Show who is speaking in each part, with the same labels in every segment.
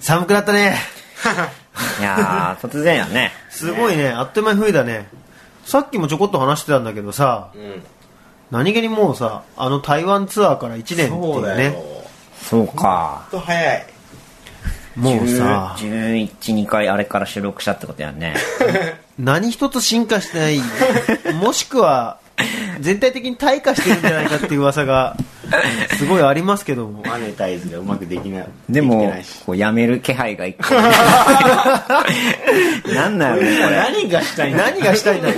Speaker 1: 寒くなったね。
Speaker 2: いやー、突然やね。
Speaker 1: すごいね、あっという間に冬だね。さっきもちょこっと話してたんだけどさ、何気にもうさ、あの台湾ツアーから1年って
Speaker 3: そう
Speaker 1: いう
Speaker 3: だよ。
Speaker 1: ね、
Speaker 2: そうか
Speaker 3: ほ。んと早い。
Speaker 1: もうさ、
Speaker 2: 10 11、2回あれから収録したってことやね。
Speaker 1: 何一つ進化してない、 もしくは全体的に退化してるんじゃないかっていう噂が、すごいありますけども。
Speaker 3: マネタイズがうまくできない。
Speaker 2: で
Speaker 3: きて
Speaker 2: も
Speaker 3: ないし、
Speaker 2: こうやめる気配が一 個。なんなんやろね、これ。
Speaker 3: 何がしたいんだ
Speaker 1: 何がしたいんだよ。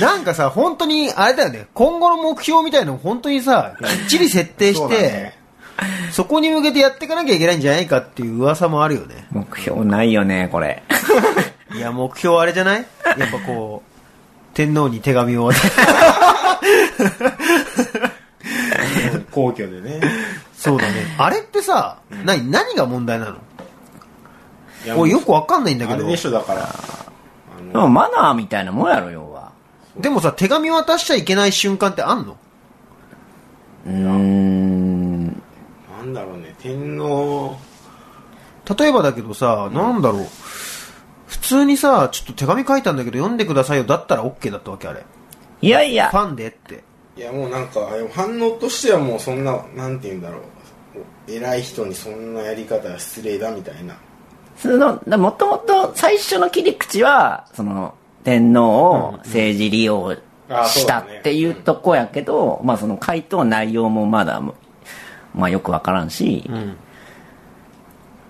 Speaker 1: なんかさ、本当に、あれだよね、今後の目標みたいのを本当にさ、きっちり設定
Speaker 3: そ
Speaker 1: し
Speaker 3: うだ
Speaker 1: て、
Speaker 3: ね
Speaker 1: そこに向けてやっていかなきゃいけないんじゃないかっていう噂もあるよね。
Speaker 2: 目標ないよね、これ。
Speaker 1: いや、目標あれじゃないやっぱこう、天皇に手紙を渡す。
Speaker 3: 皇居でね。
Speaker 1: そうだね。あれってさ、何、何が問題なの
Speaker 3: いや
Speaker 1: 俺よくわかんないんだけ
Speaker 3: あれ
Speaker 1: ど
Speaker 3: で。しょ、だから。あ
Speaker 2: で
Speaker 3: の
Speaker 2: もマナーみたいなもんやろ、要は。
Speaker 1: でもさ、手紙渡しちゃいけない瞬間ってあんの
Speaker 2: うーん。
Speaker 3: なんだろうね、天皇、
Speaker 1: 例えばだけどさ、なんだろう。普通にさ、ちょっと手紙書いたんだけど読んでくださいよ。だったら OK だったわけ、あれ。
Speaker 2: いやいや
Speaker 1: フ。ァンでって。
Speaker 3: いやもうなんか、反応としてはもうそんな、なんて言うんだろう、偉い人にそんなやり方は失礼だみたいな。
Speaker 2: その、だもともと最初の切り口は、その、天皇を政治利用
Speaker 3: あ
Speaker 2: し
Speaker 3: そう
Speaker 2: た
Speaker 3: だね
Speaker 2: っていうとこやけど、まあその回答内容もまだ、まあよくわからんし、
Speaker 1: ん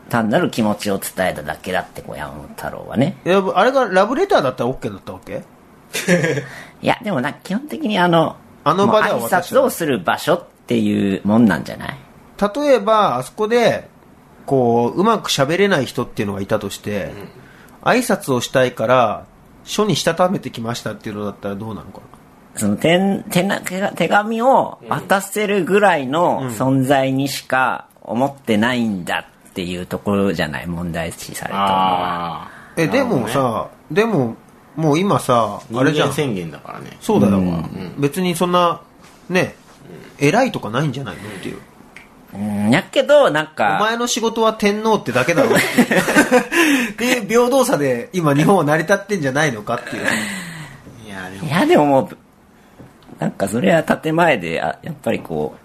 Speaker 2: 単なる気持ちを伝えただけだって、こう山本太郎はね。
Speaker 1: いやあれがラブレターだったら OK だったわけ
Speaker 2: いや、でもなんか基本的にあの、
Speaker 1: あの場では
Speaker 2: もう挨
Speaker 1: 私
Speaker 2: 拶をする場所っていうもんなんじゃない
Speaker 1: 例えば、あそこで、こう、うまく喋れない人っていうのがいたとして、挨拶をしたいから、書にしたためてきましたっていうのだったらどうなのか
Speaker 2: その手手な手が手紙を渡せるぐらいの存在にしか思ってないんだっていうところじゃない問題視されたのは
Speaker 3: あ。
Speaker 1: な。え、でもさ、でも、もう今さ、あ
Speaker 3: あ
Speaker 1: れ
Speaker 3: れじ
Speaker 1: じゃ
Speaker 3: ゃ
Speaker 1: ん。
Speaker 3: 宣言だからね。
Speaker 1: そうだよ、別にそんな、ね、偉いとかないんじゃないのっていう。
Speaker 2: うんやけどなん
Speaker 1: お
Speaker 2: か
Speaker 1: 前の仕事は天皇ってだけだろっていうっていう平等さで今日本は成り立ってんじゃないのかっていう。
Speaker 3: いや、で
Speaker 2: い
Speaker 3: も、
Speaker 2: やでももうなんかそれは建前であやっぱりこ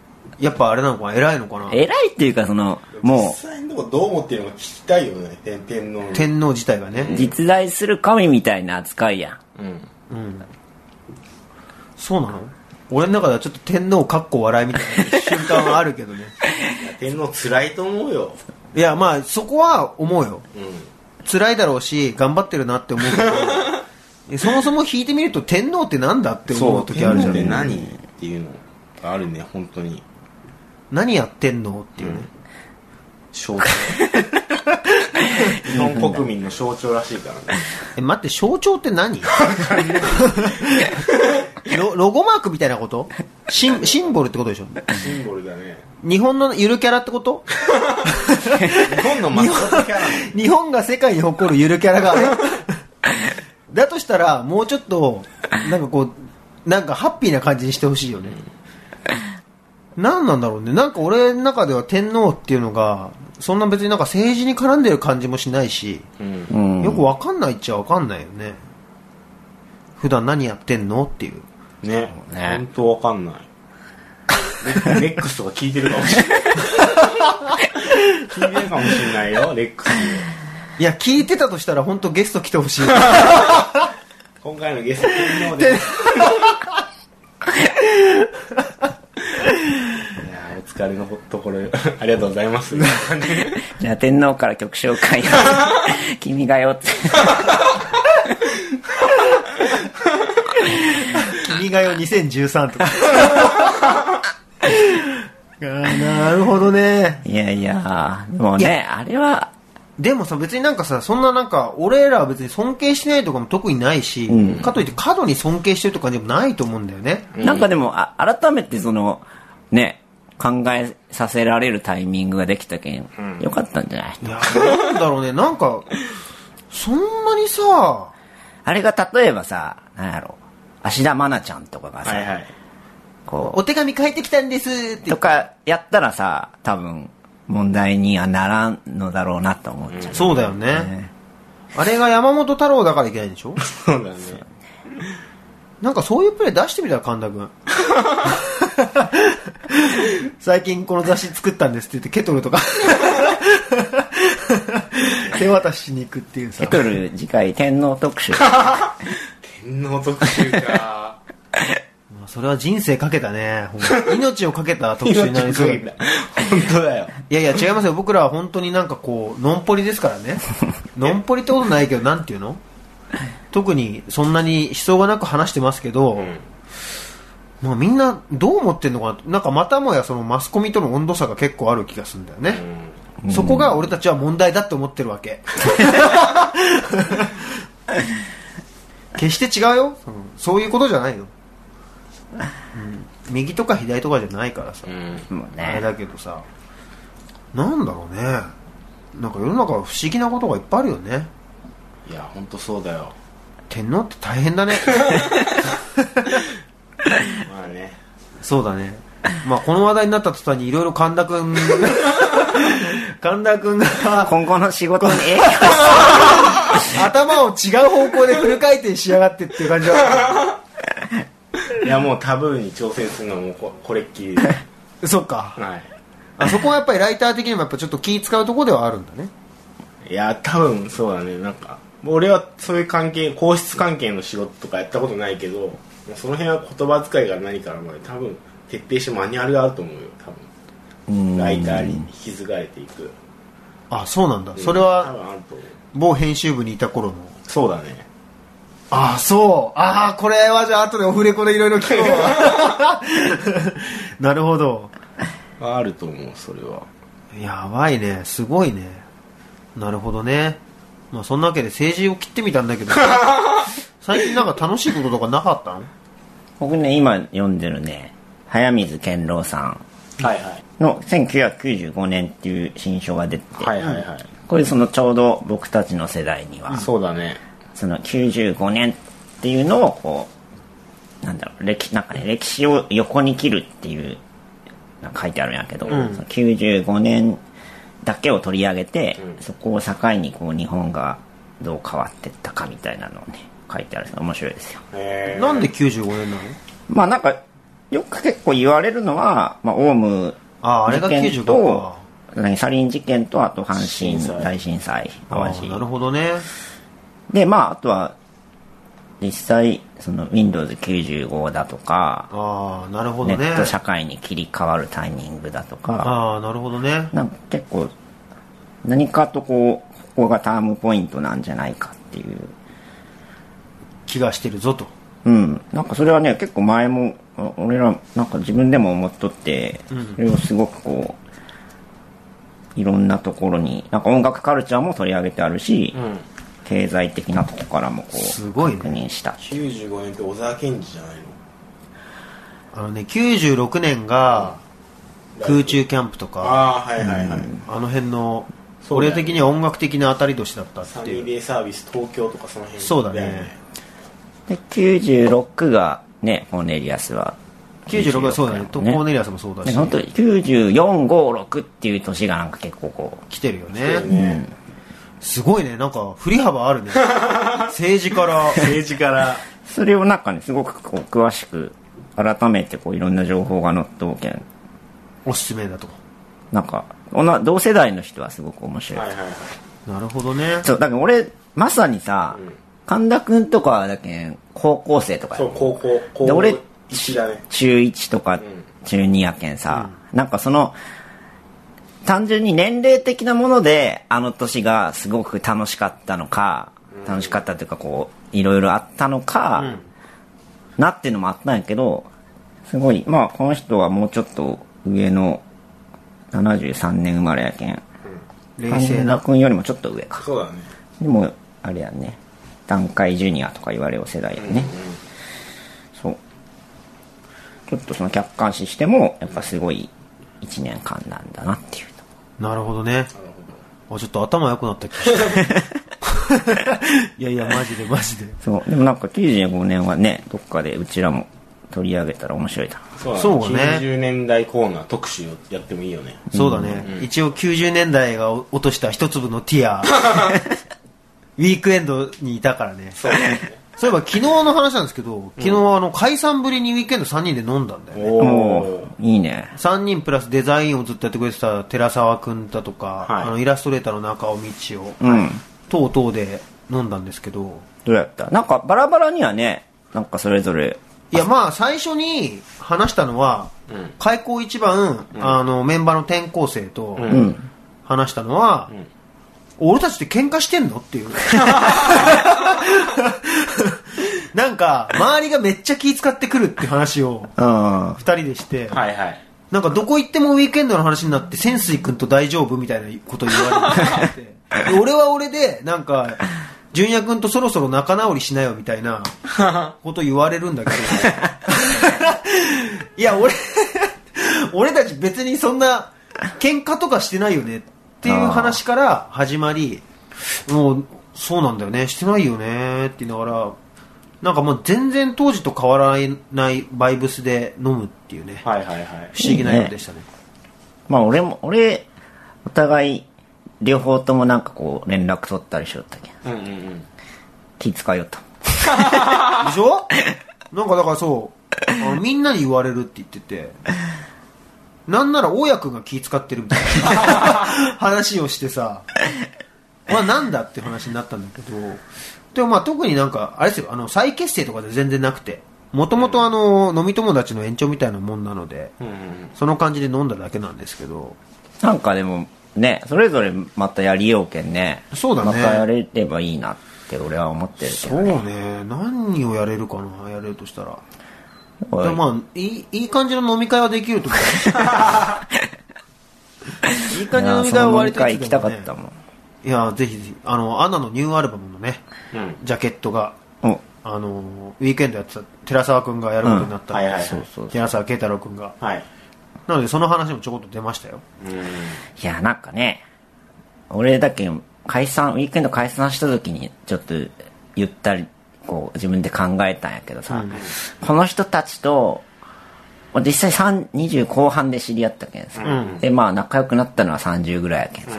Speaker 1: やっぱあれなのかな偉いのかな
Speaker 2: う偉いっていうかその
Speaker 3: 実
Speaker 2: も
Speaker 3: 際のとこどう思ってるのか聞きたいよね、天天皇に。
Speaker 1: 天皇自体がね。
Speaker 2: う実在する神みたいな扱いやん
Speaker 3: うん。
Speaker 1: そうなの俺の中ではちょっと天皇かっこ笑いみたいな瞬間はあるけ どね。
Speaker 3: いや天皇辛いと思うよ。
Speaker 1: いや、まあ、そこは思うよ。
Speaker 3: うん。
Speaker 1: 辛いだろうし、頑張ってるなって思うけど、そもそも引いてみると天皇ってなんだって思う時あるじゃ
Speaker 3: 天皇って
Speaker 1: ん。
Speaker 3: 何っていうのがあるね、本当に。
Speaker 1: 何やってんのっていうね。
Speaker 3: 象徴。日本国民の象徴らしいからね。
Speaker 1: え、待って、象徴って何 ロロゴマークみたいなことシンシンボルってことでしょ
Speaker 3: シンボルだね。
Speaker 1: 日本のゆるキャラってこと
Speaker 3: 日本のマスコットキャラ
Speaker 1: 日本が世界に誇るゆるキャラがあるだとしたらもうちょっとなんかこうなんかハッピーな感じにしてほしいよね何なんだろうねなんか俺の中では天皇っていうのがそんな別になんか政治に絡んでる感じもしないし
Speaker 3: うん。
Speaker 2: うん
Speaker 1: よくわかんないっちゃわかんないよね普段何やってんのっていう
Speaker 3: ね
Speaker 2: ね
Speaker 3: 本当わかんない レレックスとか聞いてるかもしれない聞いてるかもしれないよレックス
Speaker 1: いや聞いてたとしたら本当ゲスト来てほしい
Speaker 3: 今回のゲスト天皇 でいやーお疲れのところありがとうござい ます
Speaker 2: じゃあ天皇から曲紹介を君がよって
Speaker 1: 君 が代2013とかあーなるほどね
Speaker 2: いやいやでもねあれは
Speaker 1: でもさ、別になんかさ、そんななんか、俺らは別に尊敬してないとかも特にないし、かといって過度に尊敬してるとかでもないと思うんだよね。
Speaker 2: なんかでも、あ改めてその、ね、考えさせられるタイミングができたけん、よかったんじゃない
Speaker 1: いや、なんだ ろうね、なんか、そんなにさ、
Speaker 2: あれが例えばさ、なんやろ、芦田愛菜ちゃんとかがさ、
Speaker 3: はいはい
Speaker 2: こ
Speaker 1: お手紙書いてきたんですっ
Speaker 2: う、
Speaker 1: て
Speaker 2: と、かやったらさ、多分、問題にはならんのだろうなと思っちゃう、
Speaker 1: そうだよね。あれが山本太郎だからいけないんでしょ
Speaker 3: そうだね
Speaker 1: なんかそういうプレー出してみたら神田君最近この雑誌作ったんですって言ってケトルとか手渡ししに行くっていうさ
Speaker 2: ケトル次回天皇特集
Speaker 3: 天皇特集 か
Speaker 1: まあそれは人生かけたねほんま命をかけた特集になりそうだ
Speaker 3: 本 当だよ
Speaker 1: いやいや違いますよ僕らは本当になんかこうノンポリですからねノンポリってことないけどなんていうの特にそんなに思想がなく話してますけど、
Speaker 3: ん
Speaker 1: まあ、みんなどう思ってんのかななんかまたもやそのマスコミとの温度差が結構ある気がするんだよね、そこが俺たちは問題だって思ってるわけ決して違うよそのそういうことじゃないよ、うん、右とか左とかじゃないからさ、
Speaker 3: うん
Speaker 2: もう
Speaker 1: あ れ
Speaker 2: ね
Speaker 1: だけどさなんだろうねなんか世の中は不思議なことがいっぱいあるよね
Speaker 3: いや本当そうだよ
Speaker 1: 天皇って大変だね
Speaker 3: まあね
Speaker 1: そうだねまあこの話題になった途端にいろいろ神田く ん神田 くんが
Speaker 2: 今後の仕事に影
Speaker 1: 頭を違う方向でフル回転しやがってっていう感じだっ
Speaker 3: いやもうタブーに挑戦するのはもうここれっきり で
Speaker 1: たそっか
Speaker 3: は
Speaker 1: あそこはやっぱりライター的にもやっぱちょっと気使うところではあるんだね
Speaker 3: いいや多分そうだねなんか俺はそういう関係皇室関係の仕事とかやったことないけどもうその辺は言葉遣いが何からまで多分徹底してマニュアルがあると思うよ多分ライターに引き継がれていく
Speaker 1: あそうなんだそれは
Speaker 3: 多分あると思う
Speaker 1: 某編集部にいた頃の
Speaker 3: そうだね
Speaker 1: ああ、そう。ああ、これはじゃあ後でオフレコでいろいろ聞こうわ。 なるほど。
Speaker 3: あると思うそれは
Speaker 1: やばいね。すごいね。なるほどね。まあそんなわけで政治を切ってみたんだけ ど、最近なんか楽しいこととかなかったの
Speaker 2: 僕ね今読んでるね早水健郎さん
Speaker 3: はいはい
Speaker 2: の1995年っていう新書が出て、
Speaker 3: はいはいはい、
Speaker 2: これそのちょうど僕たちの世代には、
Speaker 3: そうだね
Speaker 2: その95年っていうのをこうなんだろう歴なんかね歴史を横に切るっていうなんか書いてあるんやけど、その95年だけを取り上げて、そこを境にこう日本がどう変わってったかみたいなのをね書いてあるんです面白いですよ
Speaker 3: え
Speaker 1: なんで95年なの
Speaker 2: まあなんかよく結構言われるのは、まあ、オウム
Speaker 1: ああれが
Speaker 2: 事件
Speaker 1: 95
Speaker 2: と
Speaker 1: か
Speaker 2: 何サリン事件とあと阪神
Speaker 3: 震災
Speaker 2: 大震災
Speaker 1: あ
Speaker 2: 淡
Speaker 1: あ
Speaker 2: 路
Speaker 1: なるほどね。
Speaker 2: でまああとは実際その Windows95 だとか、
Speaker 1: ああ、なるほ
Speaker 2: ネ
Speaker 1: どね
Speaker 2: ッ。ト社会に切り替わるタイミングだとか
Speaker 1: ああ、なるほどね。
Speaker 2: なんか結構何かとこうここがタームポイントなんじゃないかっていう
Speaker 1: 気がしてるぞと。
Speaker 2: うんなんかそれはね結構前もあ俺らなんか自分でも思っとってそれをすごくこういろんなところになんか音楽カルチャーも取り上げてあるし、
Speaker 3: ん
Speaker 2: 経済的なとこからもこ
Speaker 1: す
Speaker 2: う
Speaker 1: ごいね
Speaker 2: 確認したっていう
Speaker 3: 95年って小沢健二じゃないの
Speaker 1: あのね、96年が空中キャンプとか、
Speaker 3: ああはいはいはい、
Speaker 1: あの辺の、
Speaker 3: そうだ
Speaker 1: 俺
Speaker 3: よね
Speaker 1: 的には音楽的な当たり年だった
Speaker 3: サ
Speaker 1: っ
Speaker 3: ニ
Speaker 1: て
Speaker 3: ー
Speaker 1: いう。
Speaker 3: デイサービス東京とかその辺
Speaker 1: そうだね
Speaker 3: よ
Speaker 2: で96がねコーネリアスは
Speaker 1: 96はそうだね。とコーネリアスもそうだ
Speaker 2: で
Speaker 1: し、
Speaker 2: 本当に9456っていう年がなんか結構こ
Speaker 1: 来てるよ
Speaker 3: そうだ
Speaker 1: ね。
Speaker 3: ね
Speaker 1: すごいね。なんか、振り幅あ るね。政治から。
Speaker 3: 政治から
Speaker 2: うそれをなんかねすごくこう詳しく改めてこういろんな情報が載っておけん
Speaker 1: おすすめだと。
Speaker 2: なんかおな同世代の人はすごく面白い、
Speaker 3: はいはいはい
Speaker 1: なるほどね。
Speaker 2: そうだから俺まさにさ、神田君とかだけん高校生とかや
Speaker 3: そう高校高
Speaker 2: で
Speaker 3: 校
Speaker 2: 俺
Speaker 3: 一だね
Speaker 2: 中1とか中2やけんさ、なんかその単純に年齢的なものであの年がすごく楽しかったのか、楽しかったというかこういろいろあったのか、なっていうのもあったんやけどすごいまあこの人はもうちょっと上の73年生まれやけん
Speaker 1: 冷静
Speaker 2: 神田
Speaker 1: な。
Speaker 2: 君よりもちょっと上か
Speaker 3: そうだね
Speaker 2: でもあれやんね団塊ジュニアとか言われる世代やんね、そうちょっとその客観視してもやっぱすごい1年間なんだなっていう
Speaker 1: なるほどね。
Speaker 3: なるほ
Speaker 1: あ、ちょっと頭良くなった気が した。いやいや、マジでマジで。
Speaker 2: そうでもなんか95年はねどっかでうちらも取り上げたら面白いな。
Speaker 3: そうだ
Speaker 1: そうね
Speaker 3: 90年代コーナー特集をやってもいいよね
Speaker 1: そうだね、一応90年代が落とした一粒のテ ィアウィークエンドにいたからね
Speaker 3: そうね
Speaker 1: そういえば昨日の話なんですけど昨日あの解散ぶりにウィークエンド3人で飲んだんだよね
Speaker 3: お
Speaker 2: お
Speaker 3: お
Speaker 2: ーいいね。
Speaker 1: 3人プラスデザインをずっとやってくれてた寺澤君だとか、
Speaker 3: はい
Speaker 1: あのイラストレーターの中尾道夫
Speaker 2: うん。
Speaker 1: 等々で飲んだんですけど
Speaker 2: どうやったなんかバラバラにはね、なんかそれぞれ、
Speaker 1: いやまあ最初に話したのは、
Speaker 3: うん
Speaker 1: 開口一番、あのメンバーの転校生と
Speaker 3: うん
Speaker 1: 話したのは、俺たちって喧嘩してんの っていうなんか周りがめっちゃ気使ってくるって話を
Speaker 2: うん。
Speaker 1: 2人でして、
Speaker 3: はいはい
Speaker 1: なんかどこ行ってもウィークエンドの話になって潜水君と大丈夫みたいなこと言われてで俺は俺でなんか純也君とそろそろ仲直りしなよみたいなこと言われるんだけどいや俺俺たち別にそんな喧嘩とかしてないよねっていう話から始まりもうそうなんだよねしてないよねって言いながらなんかもう全然当時と変わらないバイブスで飲むっていうね
Speaker 3: はいはいはい
Speaker 1: 不思議な夜でしたね
Speaker 2: まあ俺も、俺、お互い、両方ともなんかこう連絡取ったりしよったけん。
Speaker 3: うんうんうん
Speaker 2: 気使いよった。
Speaker 1: でしょなんかだからそうあのみんなに言われるって言っててなんなら大家君が気使ってるみたいな話をしてさまあなんだって話になったんだけどでもまあ特になんかあれですよあの再結成とかで全然なくてもともとあの飲み友達の延長みたいなもんなので
Speaker 3: うんうん
Speaker 1: その感じで飲んだだけなんですけど
Speaker 2: なんかでも、ね、それぞれまたやりようけんね。
Speaker 1: そうだね
Speaker 2: またやれればいいなって俺は思ってるけ
Speaker 1: そ
Speaker 2: ど
Speaker 1: う
Speaker 2: ね。
Speaker 1: ね何をやれるかなやれるとしたら
Speaker 2: おい
Speaker 1: でもまあいいいい感じの飲み会はできると思ういい感じの飲み会は割と
Speaker 2: いやその飲み会行きたかったもん。
Speaker 1: いやぜひぜひあのアナのニューアルバムのね
Speaker 3: うん
Speaker 1: ジャケットが
Speaker 2: お
Speaker 1: あのウィークエンドやってた寺澤君がやることになったんで、
Speaker 3: うんはいはい
Speaker 2: そうそう
Speaker 1: 寺澤慶太郎君が
Speaker 3: はい
Speaker 1: なのでその話もちょこっと出ましたよ
Speaker 3: うん
Speaker 2: いや、なんかね、俺だけ解散、ウィークエンド解散した時に、ちょっと、ゆったり、こう、自分で考えたんやけどさ、この人たちと、実際3 20後半で知り合ったけんさ、で、まあ仲良くなったのは30ぐらいやけんさ、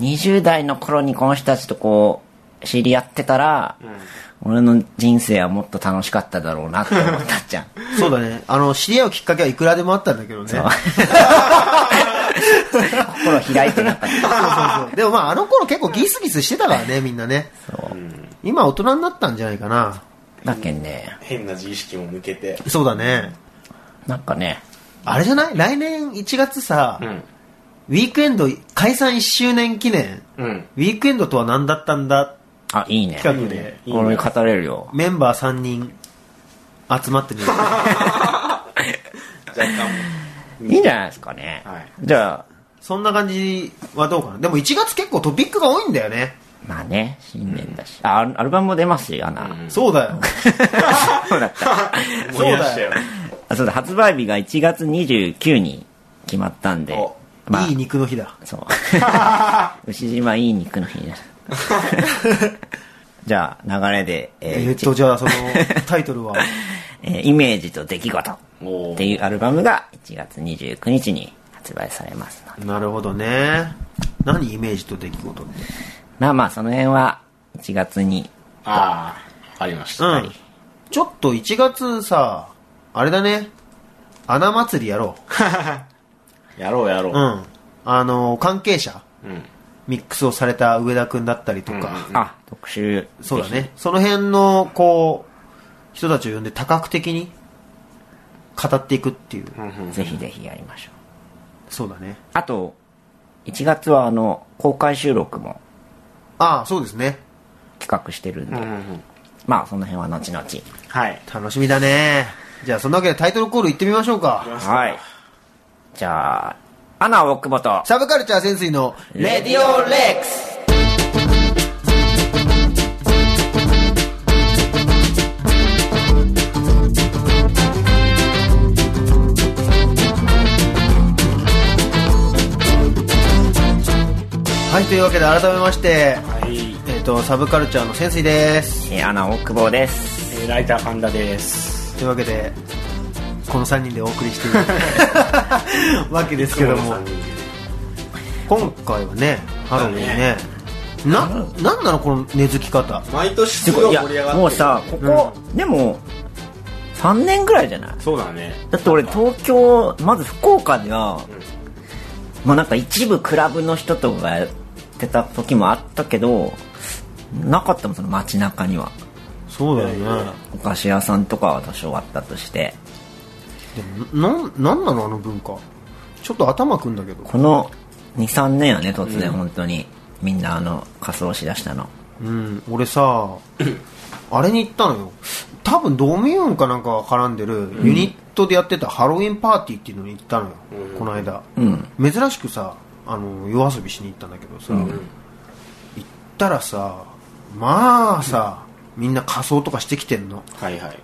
Speaker 2: 20代の頃にこの人たちとこう、知り合ってたら、俺の人生はもっと楽しかっただろうなって思ったじ ゃん。
Speaker 1: そうだねあの知り合うきっかけはいくらでもあったんだけどねそう
Speaker 2: 心開いてなかっ
Speaker 1: そうそうでもまああの頃結構ギスギスしてたからねみんなね
Speaker 2: た。そう。
Speaker 1: 今大人になったんじゃないかな
Speaker 2: だけんね、
Speaker 3: 変な自意識も抜けて
Speaker 1: そうだね
Speaker 2: なんかね、
Speaker 1: あれじゃない来年1月さ、
Speaker 3: ん
Speaker 1: ウィークエンド解散1周年記念、
Speaker 3: うん
Speaker 1: ウィークエンドとは何だったんだ
Speaker 2: あ、いいね。
Speaker 1: 企画
Speaker 3: いい
Speaker 1: で
Speaker 3: ね
Speaker 2: 俺語れるよ。
Speaker 1: メンバー3人集まってみる
Speaker 3: 若干
Speaker 2: いいんじゃないですかね。
Speaker 3: はい
Speaker 2: じゃあ、
Speaker 1: そんな感じはどうかなでも1月結構トピックが多いんだよね、
Speaker 2: まあね、新年だし。あ、アルアルバムも出ますし、アナ。
Speaker 1: そうだよ
Speaker 2: そうだった。
Speaker 3: 思い出したよ
Speaker 2: あそうだ、発売日が1月29に決まったんで
Speaker 3: お。
Speaker 2: まあ
Speaker 1: いい、肉の日だ
Speaker 2: そう。牛島いい肉の日になる。じゃあ、流れで、えー
Speaker 1: えーっとじゃあそのタイトルは
Speaker 2: えーイメージと出来事
Speaker 3: おー
Speaker 2: っていうアルバムが1月29日に発売されますので。
Speaker 1: なるほどね何イメージと出来事って
Speaker 2: まあまあ、その辺は1月に、
Speaker 3: ああわかりまし
Speaker 1: う
Speaker 3: た、
Speaker 1: ん、
Speaker 3: はい
Speaker 1: ちょっと1月さあれだね穴祭りやろ
Speaker 3: やろうやろ
Speaker 1: うう
Speaker 3: うん
Speaker 1: あの関係者
Speaker 3: うん
Speaker 1: ミックスをされた上田君だったりとか、
Speaker 2: あ、特集。
Speaker 1: そうだねその辺のこう人たちを呼んで多角的に語っていくっていう、
Speaker 2: ぜひぜひやりましょう。
Speaker 1: そうだね
Speaker 2: あと、1月はあの、公開収録も
Speaker 1: ああそうですね
Speaker 2: 企画してるんで、
Speaker 3: うんうん
Speaker 2: まあその辺は後々。
Speaker 3: はい
Speaker 1: 楽しみだねじゃあそんなわけでタイトルコールいってみましょうか
Speaker 2: はい。じゃあ、アナ大久保と、
Speaker 1: サブカルチャー潜水のレディ
Speaker 2: オレックス
Speaker 1: はいというわけで改めまして、
Speaker 3: はい
Speaker 1: えっとサブカルチャーの潜水です
Speaker 2: えーアナ大久保です。
Speaker 3: えーライター神田です
Speaker 1: というわけでこの3人でお送りしてい るわけですけども
Speaker 3: いつの三人で
Speaker 1: 今回はねハロウィンねななんなのこの根付き方
Speaker 3: 毎年
Speaker 2: て
Speaker 3: す
Speaker 2: か
Speaker 3: ご
Speaker 2: い
Speaker 3: い盛り上が
Speaker 2: や
Speaker 3: ってる
Speaker 2: もうさここ、でも3年ぐらいじゃない
Speaker 3: そうだね
Speaker 2: だって俺東京まず福岡では、まあなんか一部クラブの人とかがやってた時もあったけどなかったもんその街中には
Speaker 1: そうだよね
Speaker 2: お菓子屋さんとかは多少あったとして
Speaker 1: でもななんなのあの文化ちょっと頭くんだけど
Speaker 2: この23年はね突然本当に、みんなあの仮装しだしたの
Speaker 1: うん俺 さあれに行ったのよ多分ドミオンかなんかが絡んでるユニットでやってたハロウィンパーティーっていうのに行ったのよ、この間、珍しくさあの夜遊びしに行ったんだけどさ、行ったらさまあさみんな仮装とかしてきてんの
Speaker 3: はいはい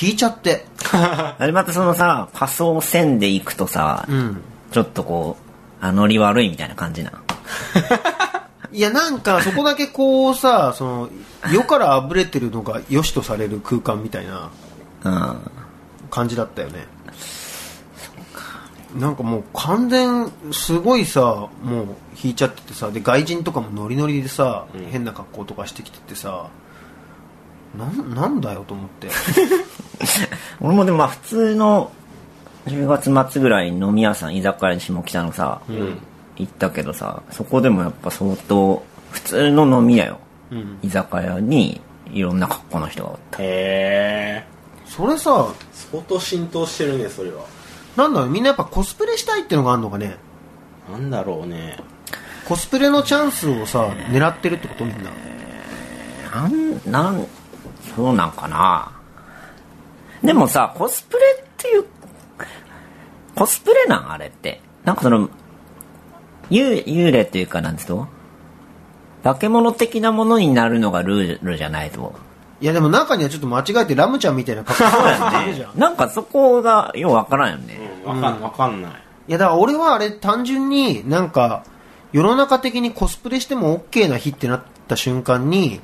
Speaker 1: 引いちゃって
Speaker 2: あれまたそのさ仮装線で行くとさ、
Speaker 1: ん
Speaker 2: ちょっとこうあノリ悪いみたいな感じない
Speaker 1: やなんかそこだけこうさその世からあぶれてるのが良しとされる空間みたいな
Speaker 2: うん
Speaker 1: 感じだったよねなんかもう完全すごいさもう引いちゃっててさで外人とかもノリノリでさ、変な格好とかしてきててさなんなんだよと思って
Speaker 2: 俺もでもまあ普通の10月末ぐらいに飲み屋さん居酒屋に下北のさ、行ったけどさそこでもやっぱ相当普通の飲み屋よ、居酒屋にいろんな格好の人がおった
Speaker 3: へえ
Speaker 1: それさ
Speaker 3: 相当浸透してるねそれは
Speaker 1: なんだろうみんなやっぱコスプレしたいってのがあるのかね
Speaker 3: なんだろうね
Speaker 1: コスプレのチャンスをさ狙ってるってことみんな
Speaker 2: なんなんそうなんかなでもさコスプレっていうコスプレなんあれってなんかその幽幽霊っていうかなんていうの化け物的なものになるのがルールじゃないと
Speaker 1: いやでも中にはちょっと間違えてラムちゃんみたいな格好してるじゃん
Speaker 2: なんかそこがようわからんよね。
Speaker 3: わかんわかんない
Speaker 1: いやだから俺はあれ単純になんか世の中的にコスプレしても OK な日ってなった瞬間に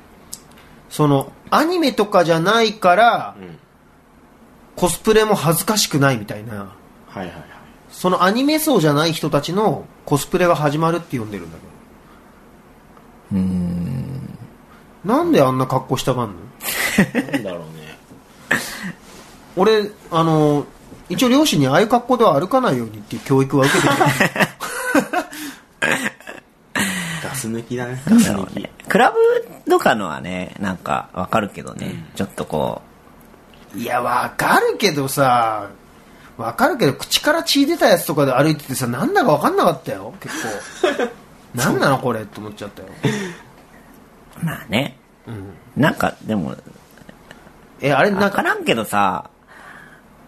Speaker 1: そのアニメとかじゃないから
Speaker 3: ん
Speaker 1: コスプレも恥ずかしくないみたいな
Speaker 3: はいはいはい
Speaker 1: そのアニメ層じゃない人たちのコスプレが始まるって呼んでるんだけどなんであんな格好したがんの
Speaker 3: なんだろうね
Speaker 1: 俺あの一応両親にああいう格好では歩かないようにっていう教育は受けてきた
Speaker 3: ガス抜きだね
Speaker 2: な
Speaker 3: ガ
Speaker 2: ん
Speaker 3: ス
Speaker 2: だろ
Speaker 3: 抜
Speaker 2: う
Speaker 3: き
Speaker 2: ねクラブとかのはね、なんかわかるけどね、ちょっとこ
Speaker 1: いや、わかるけどさ、わかるけど、口から血出たやつとかで歩いててさ、なんだかわかんなかったよ、結構。 なんなのこれって思っちゃったよ。
Speaker 2: う、まあね、
Speaker 1: うん
Speaker 2: なんかでも、
Speaker 1: え、あれ、な
Speaker 2: わ
Speaker 1: ん
Speaker 2: か
Speaker 1: か、
Speaker 2: らんけどさ、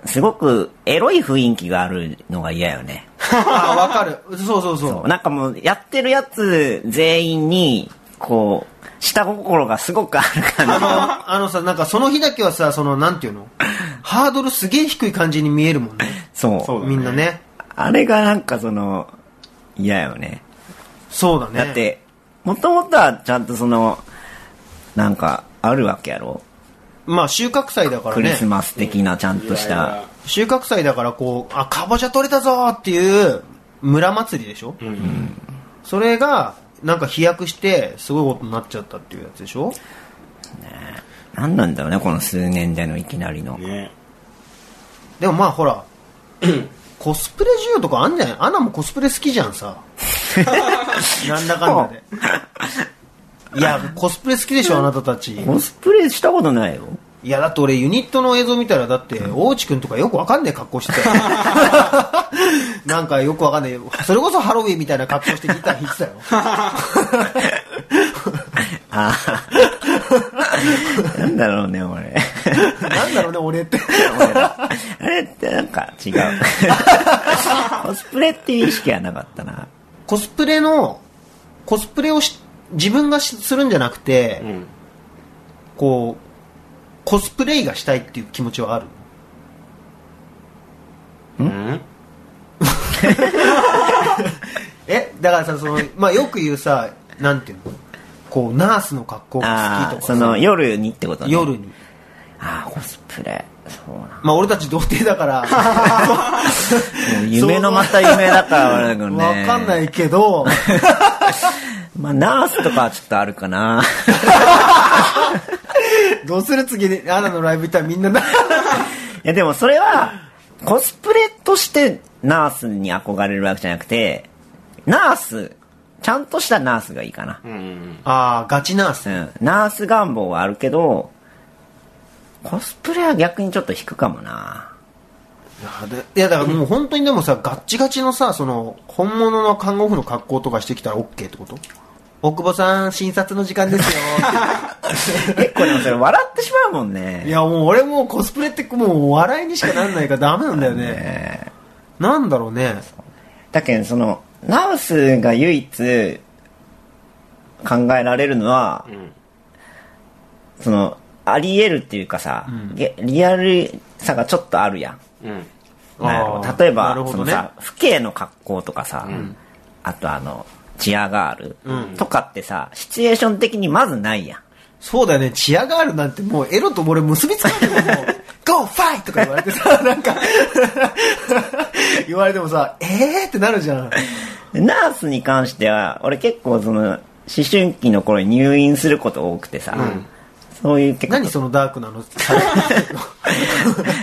Speaker 2: すごくエロい雰囲気があるのが嫌よね。
Speaker 1: あ、わかる。そうそうそう。
Speaker 2: なんかもう、やってるやつ全員に、こう、下心がすごくある感じの。
Speaker 1: あの、あのさ、なんかその日だけはさ、その、なんていうのハードルすげえ低い感じに見えるもんね。
Speaker 2: そう。
Speaker 3: そうだね
Speaker 1: みんなね。
Speaker 2: あれがなんかその、嫌よね。
Speaker 1: そうだね。
Speaker 2: だっ、て、もともとはちゃんとその、なんか、あるわけやろ、
Speaker 1: まあ収穫祭だから
Speaker 2: クリ
Speaker 1: ね
Speaker 2: ス。マス的なちゃんとし
Speaker 3: いやい
Speaker 2: た
Speaker 3: や。
Speaker 1: 収穫祭だからこう、あ、かぼちゃ取れたぞーっていう村祭りでしょ
Speaker 3: うん
Speaker 1: それがなんか飛躍してすごいことになっちゃったっていうやつでしょ
Speaker 2: なんなんだろうね、この数年でのいきなりの。
Speaker 3: ね
Speaker 1: でもまあほ らコスプレ需要とかあんじゃないアナもコスプレ好きじゃん さなんだかんだでいやコスプレ好きでしょあなたたち
Speaker 2: コスプレしたことないよ。
Speaker 1: いやだって俺ユニットの映像見たらだって大内くんとかよくわかんねえ格好してたよ なんかよくわかんねえそれこそハロウィンみたいな格好してギター弾いてたよ
Speaker 2: ああ。なんだろうね、俺。
Speaker 1: なんだろうね俺って
Speaker 2: あれってなんか違う。 コスプレっていう意識はなかったな。
Speaker 1: コスプレのコスプレをし自分がしするんじゃなくて、
Speaker 3: うん
Speaker 1: こうコスプレイがしたいっていう気持ちはある
Speaker 3: うん
Speaker 1: えだからさその、まあ、よく言うさなんていうのこうナースの格好が
Speaker 2: あ
Speaker 1: 好き
Speaker 2: あ、
Speaker 1: とか
Speaker 2: そ
Speaker 1: さ
Speaker 2: の夜にってことね。
Speaker 1: 夜に
Speaker 2: ああ、コスプレ。そうな
Speaker 1: まあ俺たち童貞だから、
Speaker 2: もう夢のまた夢だから、ね、
Speaker 1: わかんないけど、
Speaker 2: まあ、ナースとかはちょっとあるかな。
Speaker 1: どうする次にアナのライブ行ったらみんなな、
Speaker 2: いや、でもそれは、コスプレとしてナースに憧れるわけじゃなくて、ナース、ちゃんとしたナースがいいかな。
Speaker 3: うん
Speaker 1: ああ、ガチナース
Speaker 2: う。ん。ナース願望はあるけど、コスプレは逆にちょっと引くかもな。
Speaker 1: あでいやだからもう本当にでもさ、ガッチガチのさ、その、本物の看護婦の格好とかしてきたら OK ってこと大久保さん、診察の時間ですよ。
Speaker 2: 結構でもそれ笑ってしまうもん ね。
Speaker 1: いやもう俺もうコスプレってもう笑いにしかなんないからダメなんだよね。
Speaker 2: ね
Speaker 1: なんだろうね。
Speaker 2: だけどそのナースが唯一考えられるのは、
Speaker 3: ん
Speaker 2: そのあり得るっていうかさ、げリアルさがちょっとあるやん
Speaker 3: うん
Speaker 2: なんやろ
Speaker 1: あー
Speaker 2: 例えば
Speaker 1: な、るほ
Speaker 2: そ
Speaker 1: ど
Speaker 2: の
Speaker 1: ね
Speaker 2: さ父兄の格好とかさ、あとあのチアガールとかってさ、シチュエーション的にまずないやん
Speaker 1: そうだよね、チアガールなんてもうエロと俺結びつかない もん。ゴーファイとか言われてさ、 なんか、言われてもさ、えーってなるじゃん。
Speaker 2: ナースに関しては俺結構その思春期の頃に入院すること多くてさ、そういう結構
Speaker 1: 何そのダークなの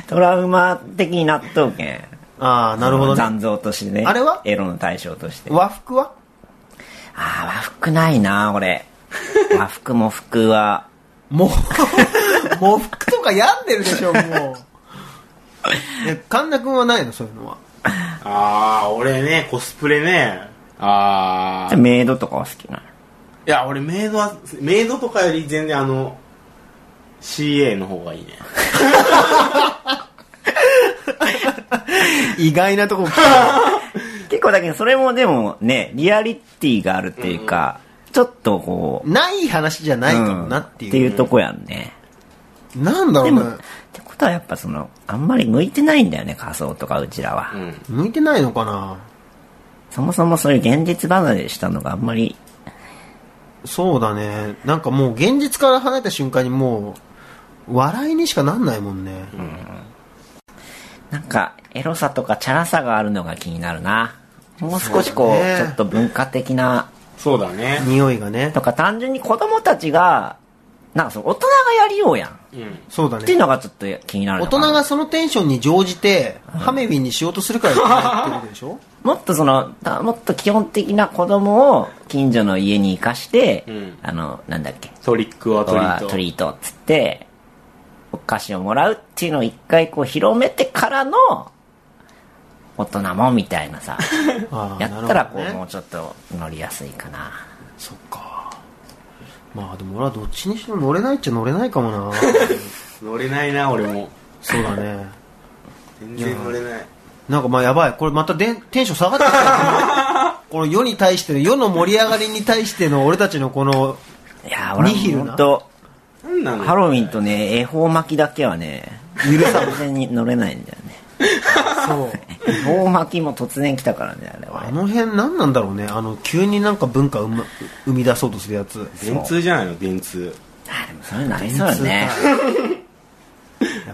Speaker 2: トラウマ的になっとうけん。
Speaker 1: ああ、なるほどね。
Speaker 2: 残像としてね。
Speaker 1: あれは
Speaker 2: エロの対象として。あ
Speaker 1: 和服は
Speaker 2: あ、和服ないな、 俺。和服も服は。
Speaker 1: もう、喪服とか病んでるでし ょ、もう。え、神田くんはないの、そういうのは。
Speaker 3: ああ俺ねコスプレねああ
Speaker 2: メイドとかは好きなの。
Speaker 3: いや俺メイドはメイドとかより全然あの CA の方がいいね
Speaker 1: 意外なとこ来た。
Speaker 2: 結構だけど、それもでもね、リアリティがあるっていうか、ちょっとこう。
Speaker 1: ない話じゃないかもなって
Speaker 2: んって
Speaker 1: い。
Speaker 2: いううとこやんね。
Speaker 1: なんだろ
Speaker 2: で
Speaker 1: う
Speaker 2: も、
Speaker 1: ね
Speaker 2: っ。てことはやっぱその、あんまり向いてないんだよね、仮想とかうちらは。
Speaker 3: うん
Speaker 1: 向いてないのかな
Speaker 2: そもそもそういう現実離れしたのがあんまり、
Speaker 1: そうだね。なんかもう現実から離れた瞬間にもう、笑いにしかなんないもんね。
Speaker 2: なんか、エロさとかチャラさがあるのが気になるな。もう少しこう、
Speaker 1: そうだね
Speaker 2: ちょっと文化的な、
Speaker 3: そうだね
Speaker 1: 匂いがね
Speaker 2: と。か単純に子供たちが、なんかその大人がやりようやん。っ
Speaker 3: うん
Speaker 1: そうだ
Speaker 2: ていう
Speaker 1: ね。
Speaker 2: のがちょっと気になる
Speaker 1: 大
Speaker 2: のか
Speaker 1: 人
Speaker 2: な
Speaker 1: がそのテンションに乗じて、ハメウィンにしようとするからやってるでし ょ
Speaker 2: もっとその、たもっと基本的な子供を近所の家に生かして、
Speaker 3: うん
Speaker 2: あの、なんだっけ、
Speaker 3: トリックはトリー
Speaker 2: は
Speaker 3: ト
Speaker 2: トリートっつって、お菓子をもらうっていうのを一回こう広めてからの、大人もみたいなさ、
Speaker 1: あー
Speaker 2: やったらこ
Speaker 1: なるほど
Speaker 2: う、
Speaker 1: ね
Speaker 2: もうちょっと乗りやすいかな。
Speaker 1: そっか。まあでも俺はどっちにしろ乗れないっちゃ乗れないかも な。
Speaker 3: 乗れないな俺も
Speaker 1: そうだね。
Speaker 3: 全然乗れない
Speaker 1: なんかまあやばい。これまたでんテンション下がってき た。この世に対しての、世の盛り上がりに対しての俺たちのこの、
Speaker 2: いやー、俺
Speaker 1: ニヒル
Speaker 2: は
Speaker 1: な
Speaker 2: 本当
Speaker 3: なんなの
Speaker 2: ハロウィンとね、恵方巻きだけはね、
Speaker 1: 許さ
Speaker 2: 完全に乗れないんだよね。
Speaker 1: そう。
Speaker 2: 恵方巻きも突然来たからね、あれ
Speaker 1: あ
Speaker 2: は。
Speaker 1: の辺何なんだろうね。あの、急になんか文化生,、ま、生み出そうとするやつ。
Speaker 3: 電通じゃないの電通
Speaker 2: あでもそういうのありそうよね。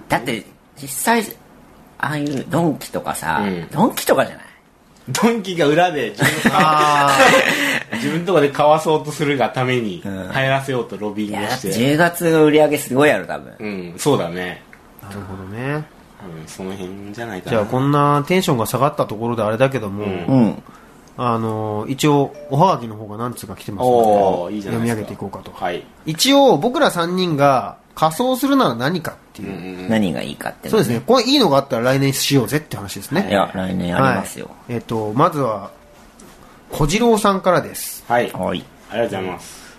Speaker 2: だって、実際、ああいうドンキとかさ、
Speaker 3: うん
Speaker 2: ドンキとかじゃない
Speaker 3: ドンキが裏で自 分の
Speaker 1: あ
Speaker 3: 自分のとこで買わそうとするがために入らせようとロビ
Speaker 2: い
Speaker 3: ング
Speaker 2: や、
Speaker 3: を
Speaker 2: だっ
Speaker 3: してて
Speaker 2: 10月の売り上げすごいやろ、多分。
Speaker 3: うんそうだね
Speaker 1: あ。なるほどね。
Speaker 3: 多分その辺じゃないかな
Speaker 1: じゃあこんなテンションが下がったところであれだけども、
Speaker 3: ん
Speaker 2: うん。
Speaker 1: あの、一応、おはがきの方が何通か来てます
Speaker 3: お
Speaker 1: の
Speaker 3: お
Speaker 1: で、
Speaker 3: いいじゃな
Speaker 1: 読
Speaker 3: い
Speaker 1: み上げ
Speaker 3: ですか
Speaker 1: ていこうかと。
Speaker 3: はい
Speaker 1: 一応、僕ら3人が仮装するなら何かっていう。
Speaker 2: 何がいいかって、
Speaker 1: そうですね。これいいのがあったら来年しようぜって話ですね。
Speaker 2: いや、来年ありますよ。
Speaker 1: はい、えっ、と、まずは、小次郎さんからです。
Speaker 3: はいあ
Speaker 2: はい。
Speaker 3: りがとうございます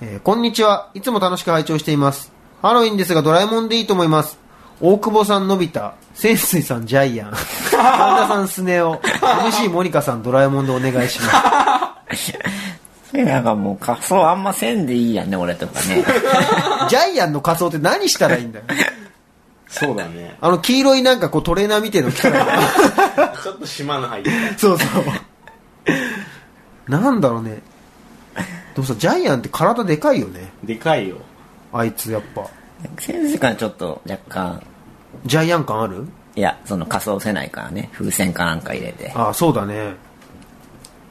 Speaker 1: えーこんにちは。いつも楽しく拝聴しています。ハロウィンですがドラえもんでいいと思います。大久保さん、のび太、潜水さん、ジャイアン、神田さん、スネ夫、MC モニカさん、ドラえもんでお願いします。
Speaker 2: それなんかもう仮装あんませんでいいやんね、俺とか ね。
Speaker 1: ジャイアンの仮装って何したらいいんだよ。
Speaker 3: そうだね
Speaker 1: あの、黄色いなんかこうトレーナーみたいなの着たらいいんだよ
Speaker 3: ちょっと島の入り
Speaker 1: そうそう。なんだろうね。でもさ、ジャイアンって体でかいよね。
Speaker 3: でかいよ
Speaker 1: あいつやっぱ。
Speaker 2: 先生からちょっと若干
Speaker 1: ジャイアン感ある
Speaker 2: いや、その仮想せないからね、風船かなんか入れ て。
Speaker 1: ああそうだね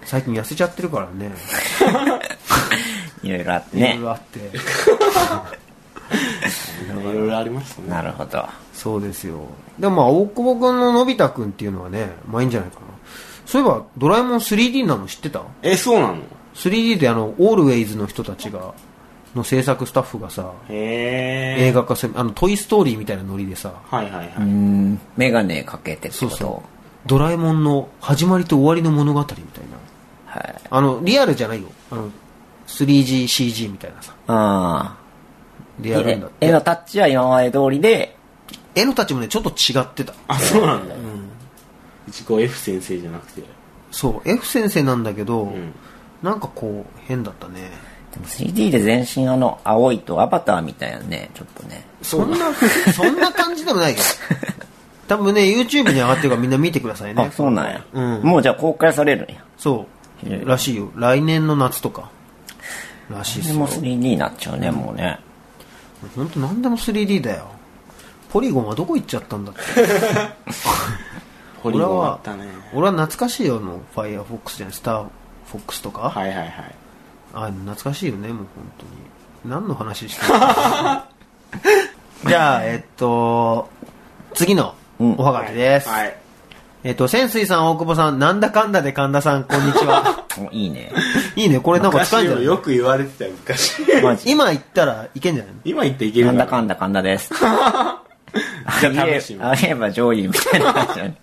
Speaker 1: 最近痩せちゃってるからね
Speaker 2: いろいろあって
Speaker 1: いろ
Speaker 2: ね
Speaker 1: い。ろあって
Speaker 3: いろいろありましたね
Speaker 2: なるほど。
Speaker 1: そうですよでもまあ大久保君ののび太君っていうのはねまあいいんじゃないかなそういえばドラえもん 3D なの知ってた
Speaker 3: えそうなの
Speaker 1: 3D であのオールウェイズの人たちがの制作スタッフがさ
Speaker 3: へえ
Speaker 1: 映画化するあの「トイ・ストーリー」みたいなノリでさ
Speaker 3: はいはいはい、
Speaker 2: うん、メガネかけてってこと
Speaker 1: そうそうドラえもんの始まりと終わりの物語みたいな
Speaker 2: はい。
Speaker 1: あのリアルじゃないよあの 3GCG みたいなさ
Speaker 2: ああ。
Speaker 1: でやるんだっ
Speaker 2: で
Speaker 1: て
Speaker 2: 絵のタッチは今まで通りで、
Speaker 1: 絵のたちもねちょっと違ってた
Speaker 3: あそうなんだ、うちこう F 先生じゃなくて
Speaker 1: そう F 先生なんだけど、
Speaker 3: ん
Speaker 1: なんかこう変だったね
Speaker 2: でも 3D で全身あの青いとアバターみたいなね、ちょっとね。
Speaker 1: そんなそんな感じでも ないけど多分ね YouTube に上がってるからみんな見てくださいね
Speaker 2: あ、そうなんや。
Speaker 1: うん
Speaker 2: もうじゃあ公開されるんや。
Speaker 1: そうらしいよ来年の夏とからしいっ
Speaker 2: です
Speaker 1: よ
Speaker 2: も 3D になっちゃうね、もうね。
Speaker 1: 本当何でも 3D だよポリゴンはどこ行っちゃったんだって
Speaker 3: ポリゴンあったね
Speaker 1: 俺は懐かしいよあの Firefox じゃないスターフォックスとか、
Speaker 3: はいはいはい
Speaker 1: ああ懐かしいよねもう本当に何の話して るのじゃあえっと次の
Speaker 2: うん
Speaker 1: おはがきです、
Speaker 3: はい
Speaker 1: えっと潜水さん大久保さんなんだかんだで神田さんこんにち は
Speaker 2: おいい ね。
Speaker 1: いいねこれなんか使
Speaker 3: 昔
Speaker 1: えんじゃ
Speaker 3: よ
Speaker 1: ない
Speaker 3: よく言われてたよ昔
Speaker 2: マジ。
Speaker 1: 今行ったらいけんじゃないの
Speaker 3: 今言っていける
Speaker 2: なんだ
Speaker 3: ん
Speaker 2: かんだかんだ です。あ
Speaker 3: じゃあ試
Speaker 2: れ
Speaker 3: してみ
Speaker 2: あれば上位みたいな感じだね。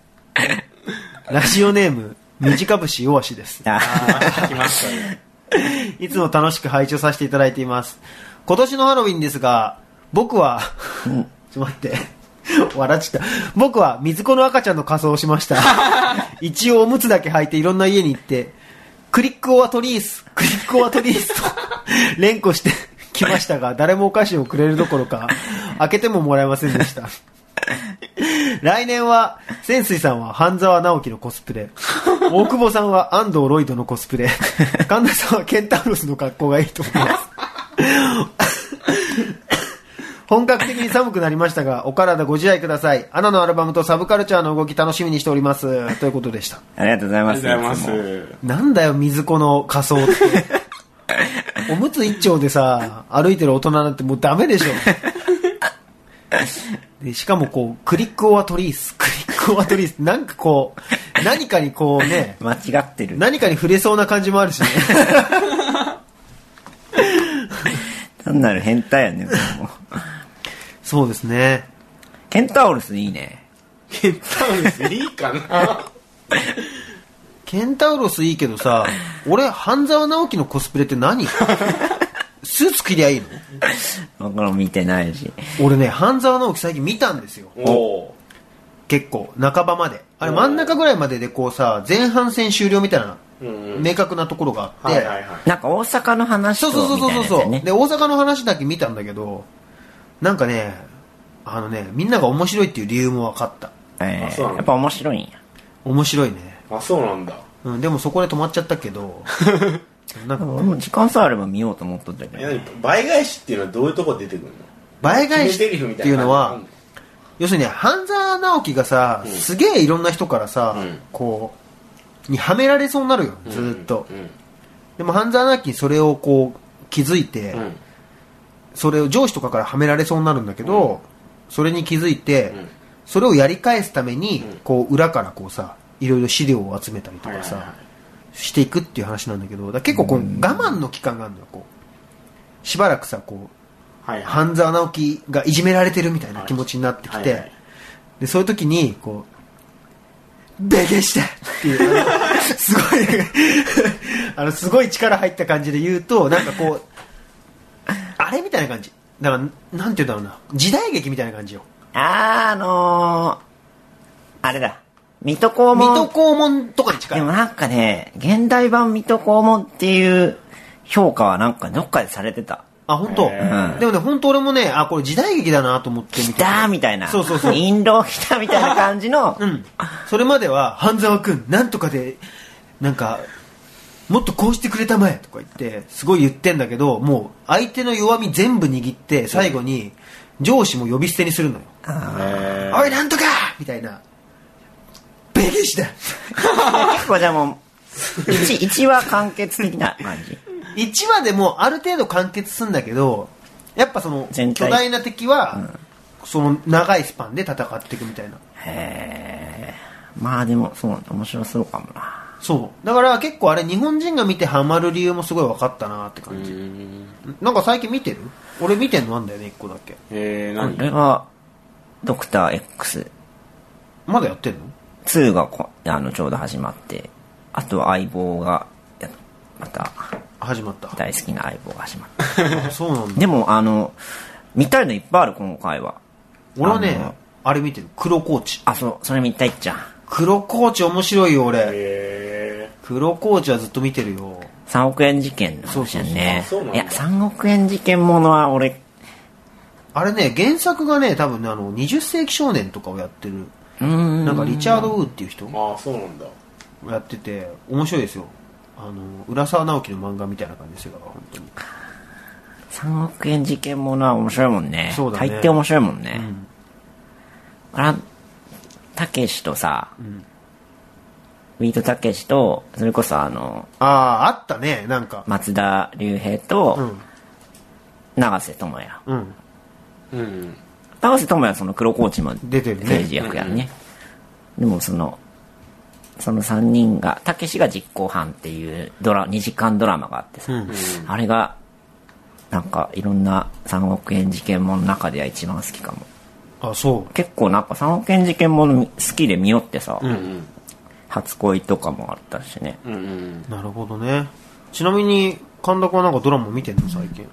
Speaker 1: ラジオネーム短節弱しです
Speaker 2: あ
Speaker 3: 来ましたね
Speaker 1: いつも楽しく拝聴させていただいています。今年のハロウィンですが、僕は、 ちょっと待って、笑っちゃった。僕は水子の赤ちゃんの仮装をしました。一応おむつだけ履いていろんな家に行って、クリックオアトリース、クリックオアトリースと連呼してきましたが、誰もお菓子をくれるどころか、開けてももらえませんでした。 来年は、泉水さんは半沢直樹のコスプレ、大久保さんは安藤ロイドのコスプレ、神田さんはケンタウロスの格好がいいと思います。 本格的に寒くなりましたが、お体ご自愛ください。アナのアルバムとサブカルチャーの動き楽しみにしております。ということでした。
Speaker 2: ありがとうござい
Speaker 3: あ
Speaker 2: ま
Speaker 3: り
Speaker 2: す。
Speaker 3: がとうご
Speaker 2: いつも
Speaker 3: ざいま
Speaker 1: なんだよ、水子の仮装って。おむつ一丁でさ、歩いてる大人なんてもうダメでしょ。でしかもこう、クリックオアトリース、クリックオアトリース、なんかこう、何かにこうね、
Speaker 2: 間違ってる。
Speaker 1: 何かに触れそうな感じもあるしね。
Speaker 2: 単なる変態やね、もう
Speaker 1: そうですね。
Speaker 2: ケンタウルスいいね。
Speaker 3: すケンタウルスいい かな
Speaker 1: ケンタウロスいいけどさ、俺、半沢直樹のコスプレって何スーツ着りゃいいの
Speaker 2: 僕らも見てないし。
Speaker 1: 俺ね、半沢直樹最近見たんですよ。
Speaker 3: おお
Speaker 1: 結構半ばまであれ真ん中ぐらいまででこうさ前半戦終了みたいな
Speaker 3: うんうん
Speaker 1: 明確なところがあっ
Speaker 3: はい
Speaker 1: て、
Speaker 3: はいはい
Speaker 2: なんか大阪の話
Speaker 1: そ
Speaker 2: と
Speaker 1: うそう
Speaker 2: み
Speaker 1: そう
Speaker 2: たい
Speaker 1: そう
Speaker 2: なやつ
Speaker 1: そう、
Speaker 2: やね。
Speaker 1: で大阪の話だけ見たんだけどなんかねあのねみんなが面白いっていう理由も分かった
Speaker 2: え
Speaker 3: あそうな
Speaker 2: ー
Speaker 3: の
Speaker 2: やっぱ面白いんや。
Speaker 1: 面白いね、
Speaker 3: あそうなんだ
Speaker 1: うん、でもそこで止まっちゃったけ どなんか
Speaker 2: 俺も時間さえあれば見ようと思っとったけ
Speaker 3: え
Speaker 2: ど。
Speaker 3: 何倍返しっていうのはどういうとこ出てくるの
Speaker 1: 倍返しって
Speaker 3: 決め台詞みた
Speaker 1: い
Speaker 3: いうな
Speaker 1: のは
Speaker 3: 感じ
Speaker 1: 要するにね半沢直樹がさ、
Speaker 3: ん
Speaker 1: すげえいろんな人からさ、
Speaker 3: うん
Speaker 1: こうにはめられそうになるよずーっと、
Speaker 3: うん
Speaker 1: でも半沢直樹にそれをこう気づいて、
Speaker 3: うん
Speaker 1: それを上司とかからはめられそうになるんだけど、それに気づいて、
Speaker 3: うん
Speaker 1: それをやり返すために、
Speaker 3: うん
Speaker 1: こう裏からこうさいろいろ資料を集めたりとかさ、
Speaker 3: はいはいは
Speaker 1: していくっていう話なんだけどだから結構こう、我慢の期間があるのよこうしばらくさこ
Speaker 3: はいうはい
Speaker 1: 半沢直樹がいじめられてるみたいな気持ちになってきて、
Speaker 3: はいはい
Speaker 1: でそういう時にこう「ベゲして!」っていうあのすごい あのすごい力入った感じで言うとなんかこうあれみたいな感じだからなんて言うんだろうな時代劇みたいな感じよ
Speaker 2: あー、あのー、あれだ。水戸黄門。
Speaker 1: 水戸黄門とかに近
Speaker 2: で
Speaker 1: い
Speaker 2: もなんかね、現代版水戸黄門っていう評価はなんかどっかでされてた。
Speaker 1: あ本当、
Speaker 3: へー
Speaker 1: でもね本当俺もねあこれ時代劇だなと思って
Speaker 2: 来
Speaker 1: 見て
Speaker 2: たーみたいな。
Speaker 1: そうそうそう
Speaker 2: 陰謀来たみたいな感じの。
Speaker 1: うん、それまでは半沢君なんとかでなんかもっとこうしてくれたまえとか言ってすごい言ってんだけどもう相手の弱み全部握って最後に上司も呼び捨てにするのよ
Speaker 3: え
Speaker 1: おいなんとかみたいな弁義士だ
Speaker 2: 結構じゃあもう、一一は完結的な感じ。
Speaker 1: 1話でもある程度完結するんだけどやっぱその巨
Speaker 2: 全体
Speaker 1: 大な敵は、その長いスパンで戦っていくみたいな
Speaker 2: へーまあでも、そう、面白そうかもな。
Speaker 1: そうだから結構あれ日本人が見てハマる理由もすごい分かったなって感じなんか最近見てる俺見てんのあんだよね1個だけ
Speaker 3: えー、
Speaker 2: こ
Speaker 3: 何
Speaker 2: れが、ドクター
Speaker 1: まだやってんの
Speaker 2: X2 がこあのちょうど始まって、あとは相棒が、やまた、
Speaker 1: 始まった
Speaker 2: 大好きな相棒が始まった。
Speaker 1: あそうなんだ
Speaker 2: でも、あの、見たいのいっぱいある、今回は。
Speaker 1: 俺はね
Speaker 2: あの
Speaker 1: あれ見てる黒コーチ
Speaker 2: あ、そう、それ見たいっちゃ。
Speaker 1: 黒コーチ面白いよ俺
Speaker 3: え
Speaker 1: 黒コーチはずっと見てるよ
Speaker 2: 3億円事件の話やね。
Speaker 3: そうそうそうあそうなん
Speaker 2: い
Speaker 3: だ
Speaker 2: や、3億円事件ものは俺、
Speaker 1: あれね原作がね多分ねあの20世紀少年とかをやってる
Speaker 2: うーん。
Speaker 1: なんかリチャード・ウーっていう人
Speaker 3: ー、ああそうなんだ
Speaker 1: やってて面白いですよあの浦沢直樹の漫画みたいな感じですよだから本当に
Speaker 2: 3億円事件ものは面白いもんね。
Speaker 1: そうだね
Speaker 2: 大抵面白いもんね。あら、たけしとさ、ウィートたけしと、それこそあの、
Speaker 1: あああったねなんか
Speaker 2: 松田龍平と、
Speaker 1: うん
Speaker 2: 長瀬智也。
Speaker 1: うん
Speaker 3: うん
Speaker 2: 長瀬智也はその黒コーチも
Speaker 1: 出てるね
Speaker 2: 政治役やね。でもその、その3人が、たけしが実行犯っていうドラ、2時間ドラマがあってさ、
Speaker 1: うん
Speaker 2: あれが、なんかいろんな3億円事件もの中では一番好きかも。
Speaker 1: あそう
Speaker 2: 結構なんか3億円事件もの好きで見よってさ、
Speaker 3: うん
Speaker 2: 初恋とかもあったしね。
Speaker 3: うんうん
Speaker 1: なるほどねちなみに神田君はなんかドラマ見てんの最近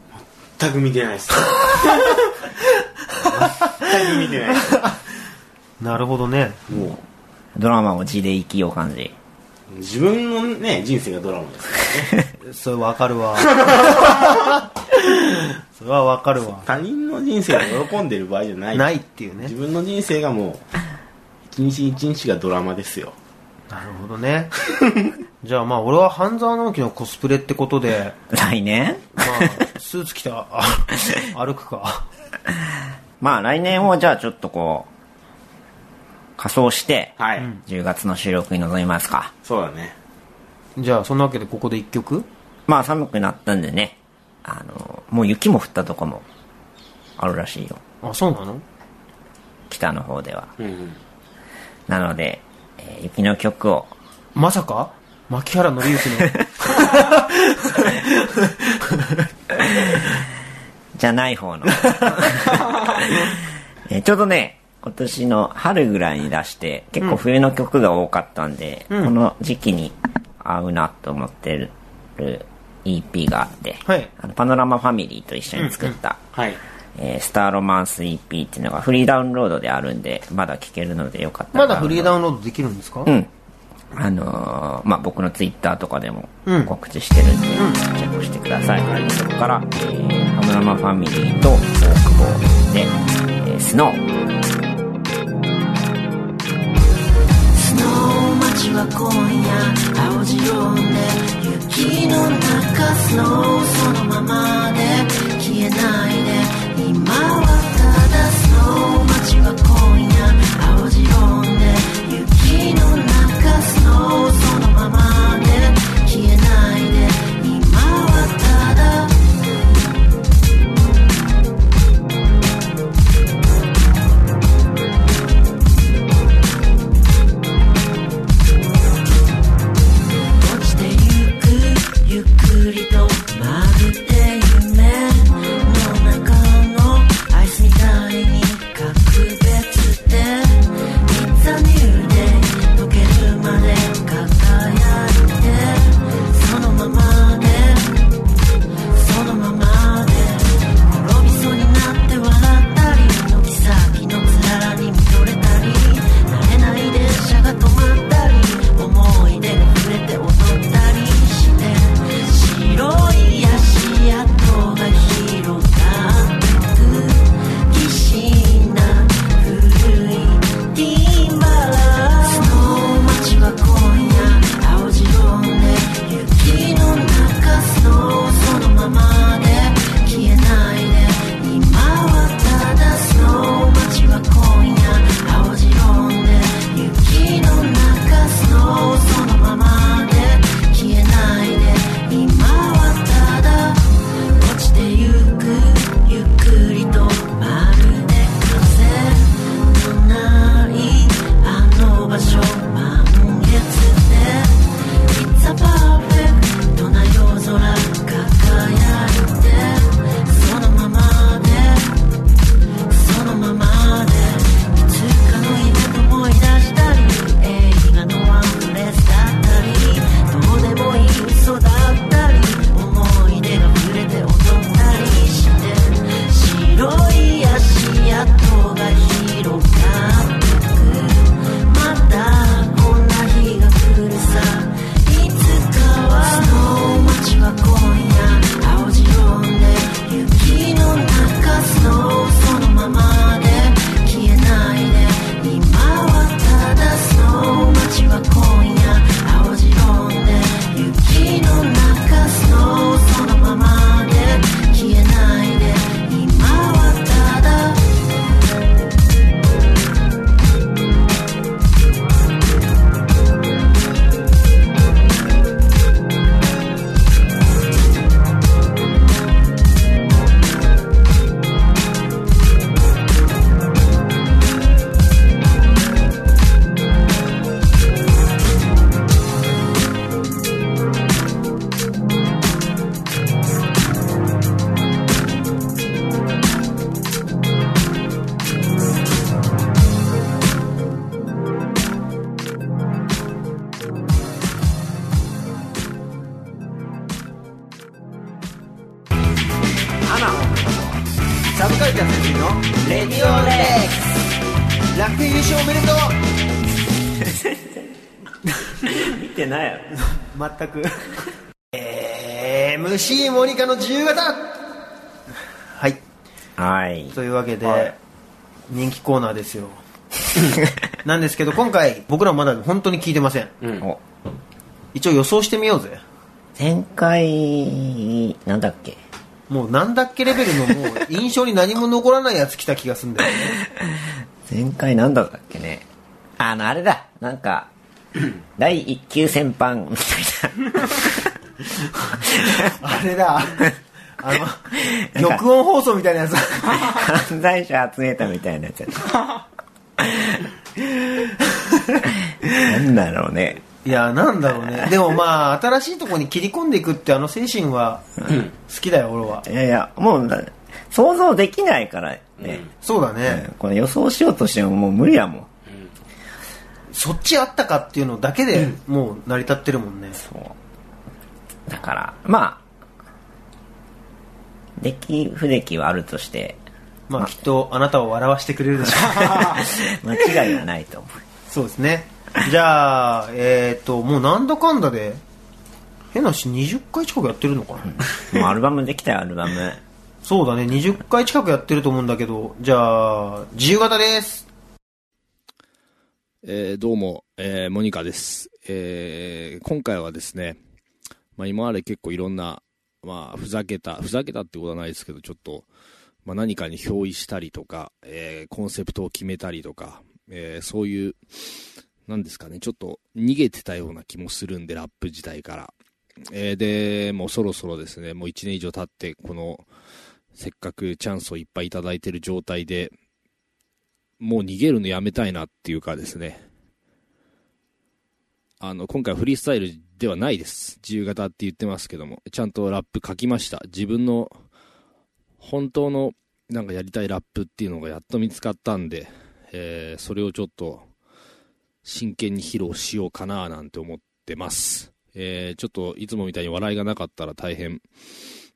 Speaker 3: 全く見て ないっす全く見てない
Speaker 1: なるほどね
Speaker 3: も
Speaker 2: ドラマを地で生きよう感じ。
Speaker 3: う自分のね人生がドラマです
Speaker 1: それわかるわ それはわかるわ
Speaker 3: 他人の人生を喜んでる場合じゃない
Speaker 1: ないっていうね
Speaker 3: 自分の人生がもう一日一日がドラマですよ
Speaker 1: なるほどねじゃあまあ俺は半沢直樹のコスプレってことで
Speaker 2: 来年
Speaker 1: ま あスーツ着てあ歩くか
Speaker 2: まあ来年をじゃあちょっとこう、仮装して、
Speaker 3: はい、
Speaker 2: 10月の収録に臨みますか。
Speaker 3: そうだね
Speaker 1: じゃあそんなわけでここで一曲
Speaker 2: まあ寒くなったんでね、あの、もう雪も降ったとこもあるらしいよ。
Speaker 1: あそうなの
Speaker 2: 北の方では。
Speaker 3: うんうん
Speaker 2: なので、えー雪の曲を、
Speaker 1: まさか牧原紀之の
Speaker 2: じゃない方の。えーちょうどね、今年の春ぐらいに出して、結構冬の曲が多かったんで、この時期に合うなと思ってる EP があって、
Speaker 1: はい
Speaker 2: あのパノラマファミリーと一緒に作った、
Speaker 3: はい
Speaker 2: えースターロマンス EP っていうのがフリーダウンロードであるんで、まだ聴けるのでよかったら。
Speaker 1: まだフリーダウンロードできるんですか、
Speaker 2: うん。あのーまあ、僕のツイッターとかでも
Speaker 1: うん
Speaker 2: 告知してるんで、チェックしてください。そこから、えー、ハムラマファミリーと、大久保で、えースノー。
Speaker 4: スノー街は今夜青白で雪の中スノーそのままで消えないで今はただスノー街は今夜青白で雪の中スノーそのままで消えないで今はただ落ちてゆくゆっくりとまるでゆっくりとまるで風のないあの場所満月で It's a perfect どな夜空輝いてそのままでそのままでいつかの夢と思い出したり映画のワンフレーズだったりどうでもいい嘘だったり思い出が触れて踊ったりして白い足跡が広がってくまたこんな日が来るさいつかはその街は今夜青白で雪の中スノーそのままで消えないで今はただスノー街は今夜青白で雪の中スノーそのままで消えないで今はただ
Speaker 1: サブカルチャー先生のレディオレックス楽天優勝おめでと
Speaker 2: 見てないよ
Speaker 1: う全くえー MC モニカの自由形はい
Speaker 2: はい
Speaker 1: というわけで、人気コーナーですよ なんですけど今回僕らまだ本当に聞いてません
Speaker 2: お
Speaker 1: 一応予想してみようぜ
Speaker 2: 前回なんだっけ
Speaker 1: もうなんだっけレベルのもう印象に何も残らないやつ来た気がすんだよね
Speaker 2: 前回なんだったっけねあのあれだな んか第一級戦犯みたい な
Speaker 1: あれ だあの録音放送みたいなやつ
Speaker 2: 犯罪者集めたみたいなやつやったなんだろうね
Speaker 1: いやなんだろうねでもまあ新しいとこに切り込んでいくってあの精神は好きだよ俺はい
Speaker 2: やいやもうだ想像できないからね、
Speaker 1: そうだ
Speaker 2: う
Speaker 1: ね
Speaker 2: んこれ予想しようとしてももう無理やもん
Speaker 1: そっちあったかっていうのだけでもう成り立ってるもんね
Speaker 2: そうだからまあ出来不出来はあるとして
Speaker 1: まあきっとあなたを笑わせてくれるでしょう
Speaker 2: 間違いはないと思
Speaker 1: そうですねじゃあえっ、ともうなんだかんだで変な話20回近くやってるのかな
Speaker 2: うもうアルバムできたよアルバム
Speaker 1: そうだね20回近くやってると思うんだけどじゃあ自由形です
Speaker 5: えーどうも、えーモニカです、えー今回はですね、まあ、今まで結構いろんな、まあ、ふざけたふざけたってことはないですけどちょっと、まあ、何かに憑依したりとか、えーコンセプトを決めたりとか、えーそういうなんですかねちょっと逃げてたような気もするんでラップ自体から、えーでもうそろそろですねもう1年以上経ってこのせっかくチャンスをいっぱいいただいてる状態でもう逃げるのやめたいなっていうかですね、あの、今回フリースタイルではないです。自由形って言ってますけども、ちゃんとラップ書きました。自分の本当のなんかやりたいラップっていうのがやっと見つかったんで、えーそれをちょっと真剣に披露しようかななんて思ってます。えーちょっといつもみたいに笑いがなかったら大変、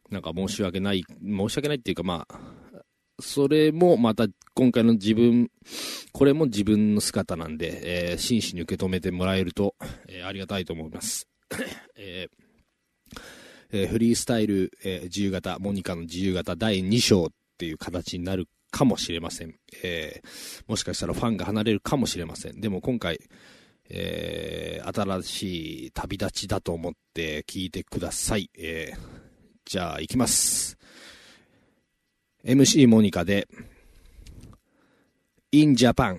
Speaker 5: なんか申し訳ない、申し訳ないっていうかまあ、それもまた今回の自分、これも自分の姿なんで、えー真摯に受け止めてもらえると、えーありがたいと思います。 えーえーフリースタイル、えー自由形、モニカの自由形第2章っていう形になるかもしれません。えーもしかしたらファンが離れるかもしれません。でも今回、えー新しい旅立ちだと思って聞いてください。えーじゃあ行きます。MC モニカで、In Japan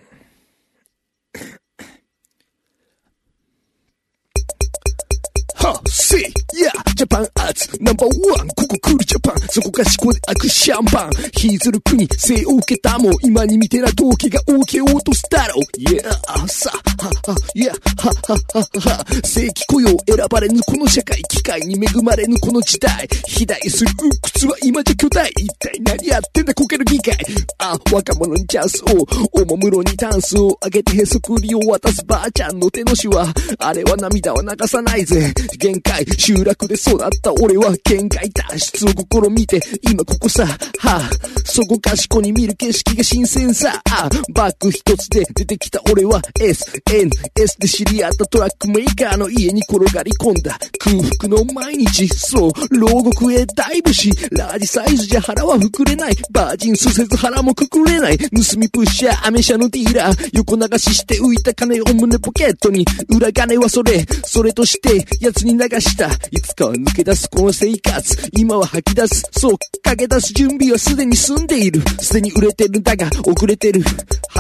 Speaker 5: はっしーやジャパンアーツナンバーワンここクールジャパンそこが思考で開くシャンパン引きずる国生を受けたもん今に見てな同期が受けようとしたろ Yeah さあはは Yeah はははは正規雇用選ばれぬこの社会機会に恵まれぬこの時代肥大する鬱屈は今じゃ巨大一体何やってんだこける議会あ若者にチャンスをおもむろにタンスを上げてへそくりを渡すばあちゃんの手の手はあれは涙は流さないぜ限界集落で育った俺は限界脱出を試みて今ここさ はあそこかしこに見る景色が新鮮さあバッグ一つで出てきた俺は SNS で知り合ったトラックメーカーの家に転がり込んだ空腹の毎日そう牢獄へダイブしラージサイズじゃ腹は膨れないバージンすせず腹もくくれない盗みプッシャーアメ車のディーラー横流しして浮いた金を胸ポケットに裏金はそれそれとして奴に流したいつかは抜け出すこの生活今は吐き出すそう駆け出す準備はすでに済んでいるすでに売れてるだが遅れてる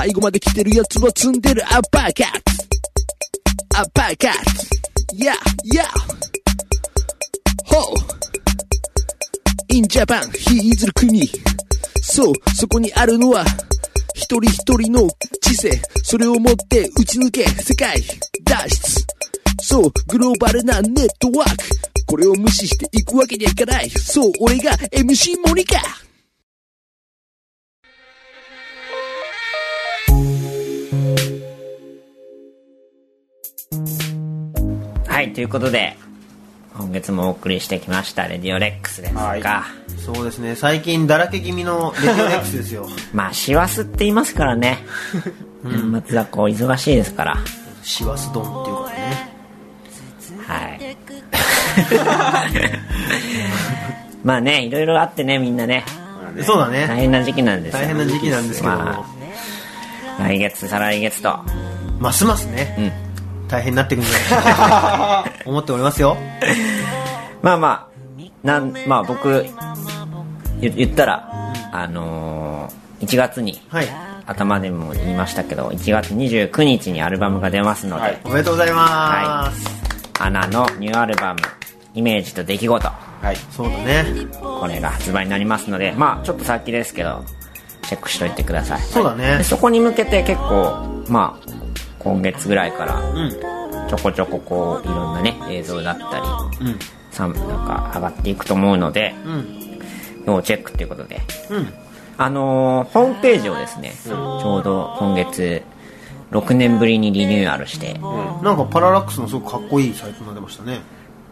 Speaker 5: 背後まで来てる奴は積んでるアッパーカットアッパーカットいやいやほう in Japan 引きずる国そうそこにあるのは一人一人の知性それを持って打ち抜け世界脱出そうグローバルなネットワークこれを無視していくわけにはいかないそう俺が MC モニカ
Speaker 2: はい、ということで、今月もお送りしてきました、レディオレックスですが、
Speaker 3: はい
Speaker 1: そうですね最近だらけ気味のレディオレックスですよ
Speaker 2: まあ、師走って言いますからね。年末はこう、忙しいですから。
Speaker 1: 師走丼っていうからね
Speaker 2: はい。 まあね、いろいろあってね、みんなね、
Speaker 1: そうだ
Speaker 2: 大
Speaker 1: ね
Speaker 2: 変な時期なんですよ
Speaker 1: 大変な時期なんですけども、
Speaker 2: まあ来月、再来月と。
Speaker 1: ますますね、大変になってくるんじゃないかと思っておりますよ
Speaker 2: まあまあ、なん、まあ僕、言言ったら、あのー、1月に、
Speaker 1: はい
Speaker 2: 頭でも言いましたけど、1月29日にアルバムが出ますので、
Speaker 3: はい
Speaker 1: おめでとうございます、
Speaker 2: 花のニューアルバム、イメージと出来事、
Speaker 3: はい
Speaker 1: そうだね
Speaker 2: これが発売になりますので、まあちょっと先ですけど、チェックしといてください。
Speaker 1: そうだね
Speaker 2: でそこに向けて結構、まあ、今月ぐらいから、
Speaker 1: うん
Speaker 2: ちょこちょここう、いろんなね、映像だったり、
Speaker 1: うん
Speaker 2: さんなんか上がっていくと思うので、
Speaker 1: うん
Speaker 2: 要チェックということで、
Speaker 1: うん
Speaker 2: あのーホームページをですね、ちょうど今月6年ぶりにリニューアルして、
Speaker 1: なんかパララックスのすごくかっこいいサイトになってましたね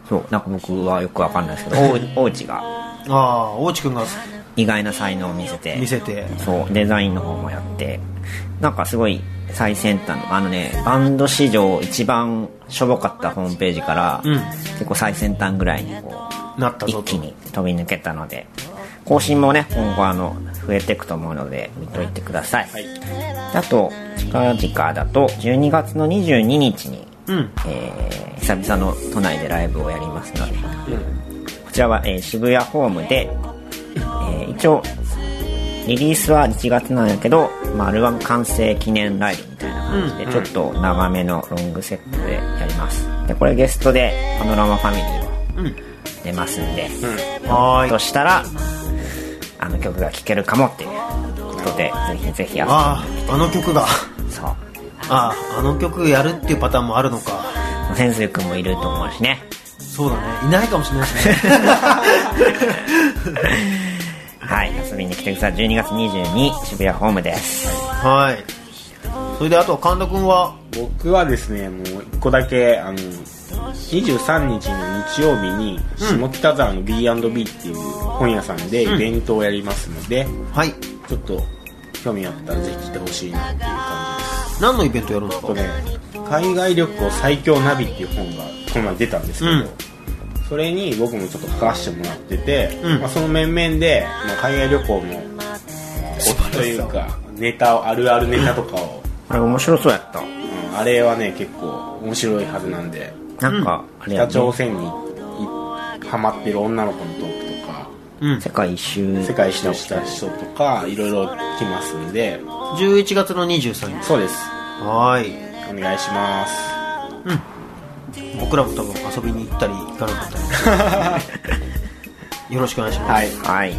Speaker 2: そうなんか僕はよくわかんないですけどおう大内が
Speaker 1: ああ大地君が
Speaker 2: 意外な才能を見せて
Speaker 1: 見せて
Speaker 2: そうデザインの方もやってなんかすごい最先端のあのねバンド史上一番しょぼかったホームページから、
Speaker 1: うん
Speaker 2: 結構最先端ぐらいにこう
Speaker 1: なったぞ
Speaker 2: 一
Speaker 1: と
Speaker 2: 気に飛び抜けたので更新もね今後あの増えていくと思うので見といてください、あと近々だと12月の22日に、
Speaker 1: うん
Speaker 2: えー久々の都内でライブをやりますので、こちらは、えー渋谷ホームで、えー一応リリースは1月なんやけど、まあ、アルバム完成記念ライブみたいな感じで、ちょっと長めのロングセットでやりますでこれゲストでパノラマファミリーも出ますんで、
Speaker 1: は
Speaker 2: と
Speaker 1: ーい
Speaker 2: したらあの曲が聴けるかもっていうことでぜひぜひ遊ん
Speaker 1: あああの曲が
Speaker 2: でそう
Speaker 1: あああの曲やるっていうパターンもあるのか
Speaker 2: 千鶴君もいると思うしね
Speaker 1: そうだねいないかもしれないですね
Speaker 2: はい遊びに来てください12月22渋谷ホームです
Speaker 1: はいそれであと神田君は
Speaker 3: 僕はですねもう1個だけあの23日の日曜日に下北沢の B&B っていう本屋さんでイベントをやりますので、
Speaker 1: はい
Speaker 3: ちょっと興味あったらぜひ来てほしいなっていう感じです
Speaker 1: 何のイベントやるんです
Speaker 3: あ
Speaker 1: か
Speaker 3: とね「海外旅行最強ナビ」っていう本がこの前出たんですけど、
Speaker 1: うん
Speaker 3: それに僕もちょっと関わしてもらってて、
Speaker 1: うん
Speaker 3: まあ、その面々で、まあ、海外旅行のコツというかネタをあるあるネタとか を、
Speaker 2: あれ面白そうやった
Speaker 3: うんあれはね結構面白いはずなんで
Speaker 2: なんか、あれや、
Speaker 3: 北
Speaker 2: ね、
Speaker 3: 朝鮮にハマってる女の子のトークとか
Speaker 1: うん
Speaker 2: 世界一周
Speaker 3: 世界一周した人とかいろいろ来ますんで
Speaker 1: 11月の23日
Speaker 3: そうです
Speaker 1: はーい
Speaker 3: お願いします
Speaker 1: 僕らも多分遊びに行ったり行かなかった りよろしくお願いします、
Speaker 3: はい
Speaker 2: はい。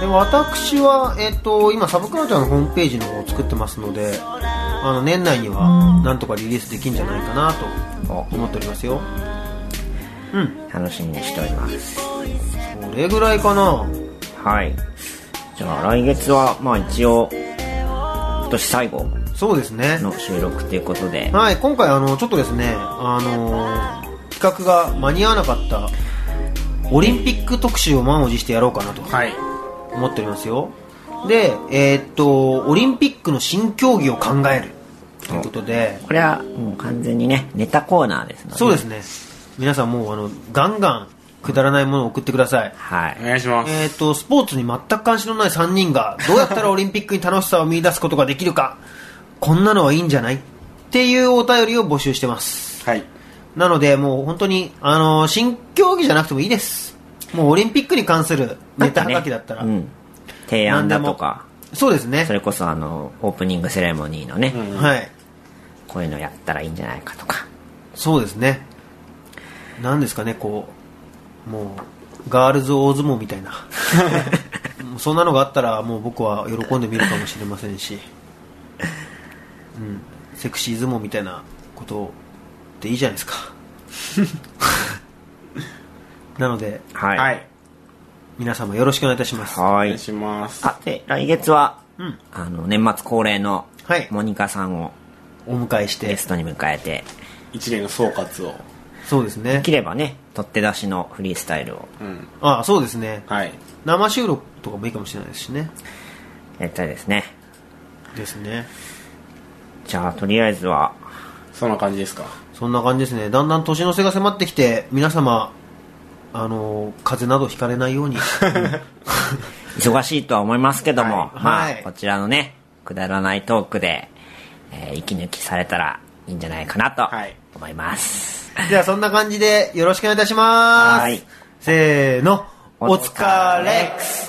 Speaker 1: で私は、えっと今サブカルチャーのホームページの方を作ってますのであの年内にはなんとかリリースできるんじゃないかな
Speaker 2: お
Speaker 1: と思っておりますようん
Speaker 2: 楽しみにしております。
Speaker 1: それぐらいかな
Speaker 2: はい。じゃあ来月は、まあ一応、今年最後
Speaker 1: そうですね
Speaker 2: の収録ということで、
Speaker 1: はい今回あのちょっとですねあのー企画が間に合わなかったオリンピック特集を満を持してやろうかなと
Speaker 3: はい
Speaker 1: 思っておりますよでえっとオリンピックの新競技を考えるということで
Speaker 2: これはもう完全にね、ネタコーナーですので。
Speaker 1: そうですね皆さんもうあのガンガンくだらないものを送ってください
Speaker 2: はい
Speaker 3: お。願いします
Speaker 1: えっとスポーツに全く関心のない3人がどうやったらオリンピックに楽しさを見出すことができるかこんなのはいいんじゃないっていうお便りを募集してます
Speaker 3: はい
Speaker 1: なので、もう本当に、あのー新競技じゃなくてもいいです。もうオリンピックに関するネタはがきだったら。
Speaker 2: うん。提案だとか、
Speaker 1: そうですね
Speaker 2: そ。れこそあの、オープニングセレモニーのね、
Speaker 1: はい。
Speaker 2: こういうのやったらいいんじゃないかとか。
Speaker 1: そうですね。なんですかね、こう、もう、ガールズ大相撲み たいな。もうそんなのがあったら、もう僕は喜んで見るかもしれませんし。うん。セクシー相撲みたいなことでいいじゃない ですか。なので、
Speaker 2: はい。
Speaker 3: はい
Speaker 1: 皆様よろしくお願いいたします。
Speaker 2: は
Speaker 3: お
Speaker 2: い
Speaker 3: 願いします
Speaker 2: あ、で、来月は、
Speaker 1: うん
Speaker 2: あの、年末恒例の
Speaker 1: はい、
Speaker 2: モニカさんを
Speaker 1: お迎えして
Speaker 2: ゲストに迎えて、
Speaker 3: 一年の総括を
Speaker 1: そうですね
Speaker 2: できればね、取って出しのフリースタイルを
Speaker 3: うん
Speaker 1: あそうですね
Speaker 3: はい
Speaker 1: 生収録とかもいいかもしれないですしね
Speaker 2: やりたいですね。
Speaker 1: ですね
Speaker 2: じゃあ、とりあえずは、
Speaker 3: そんな感じですか
Speaker 1: そんな感じですねだんだん年の瀬が迫ってきて皆様あの風邪などひかれないように
Speaker 2: 忙しいとは思いますけど
Speaker 1: は
Speaker 2: も、
Speaker 1: い
Speaker 2: まあ、
Speaker 1: はい
Speaker 2: こちらのね、くだらないトークで、えー息抜きされたらいいんじゃないかなと
Speaker 3: はい
Speaker 2: 思います。
Speaker 1: ではそんな感じでよろしくお願いいたします
Speaker 2: はい
Speaker 1: せーのお
Speaker 2: お
Speaker 1: 疲
Speaker 2: 疲
Speaker 1: れ
Speaker 2: れ
Speaker 1: っす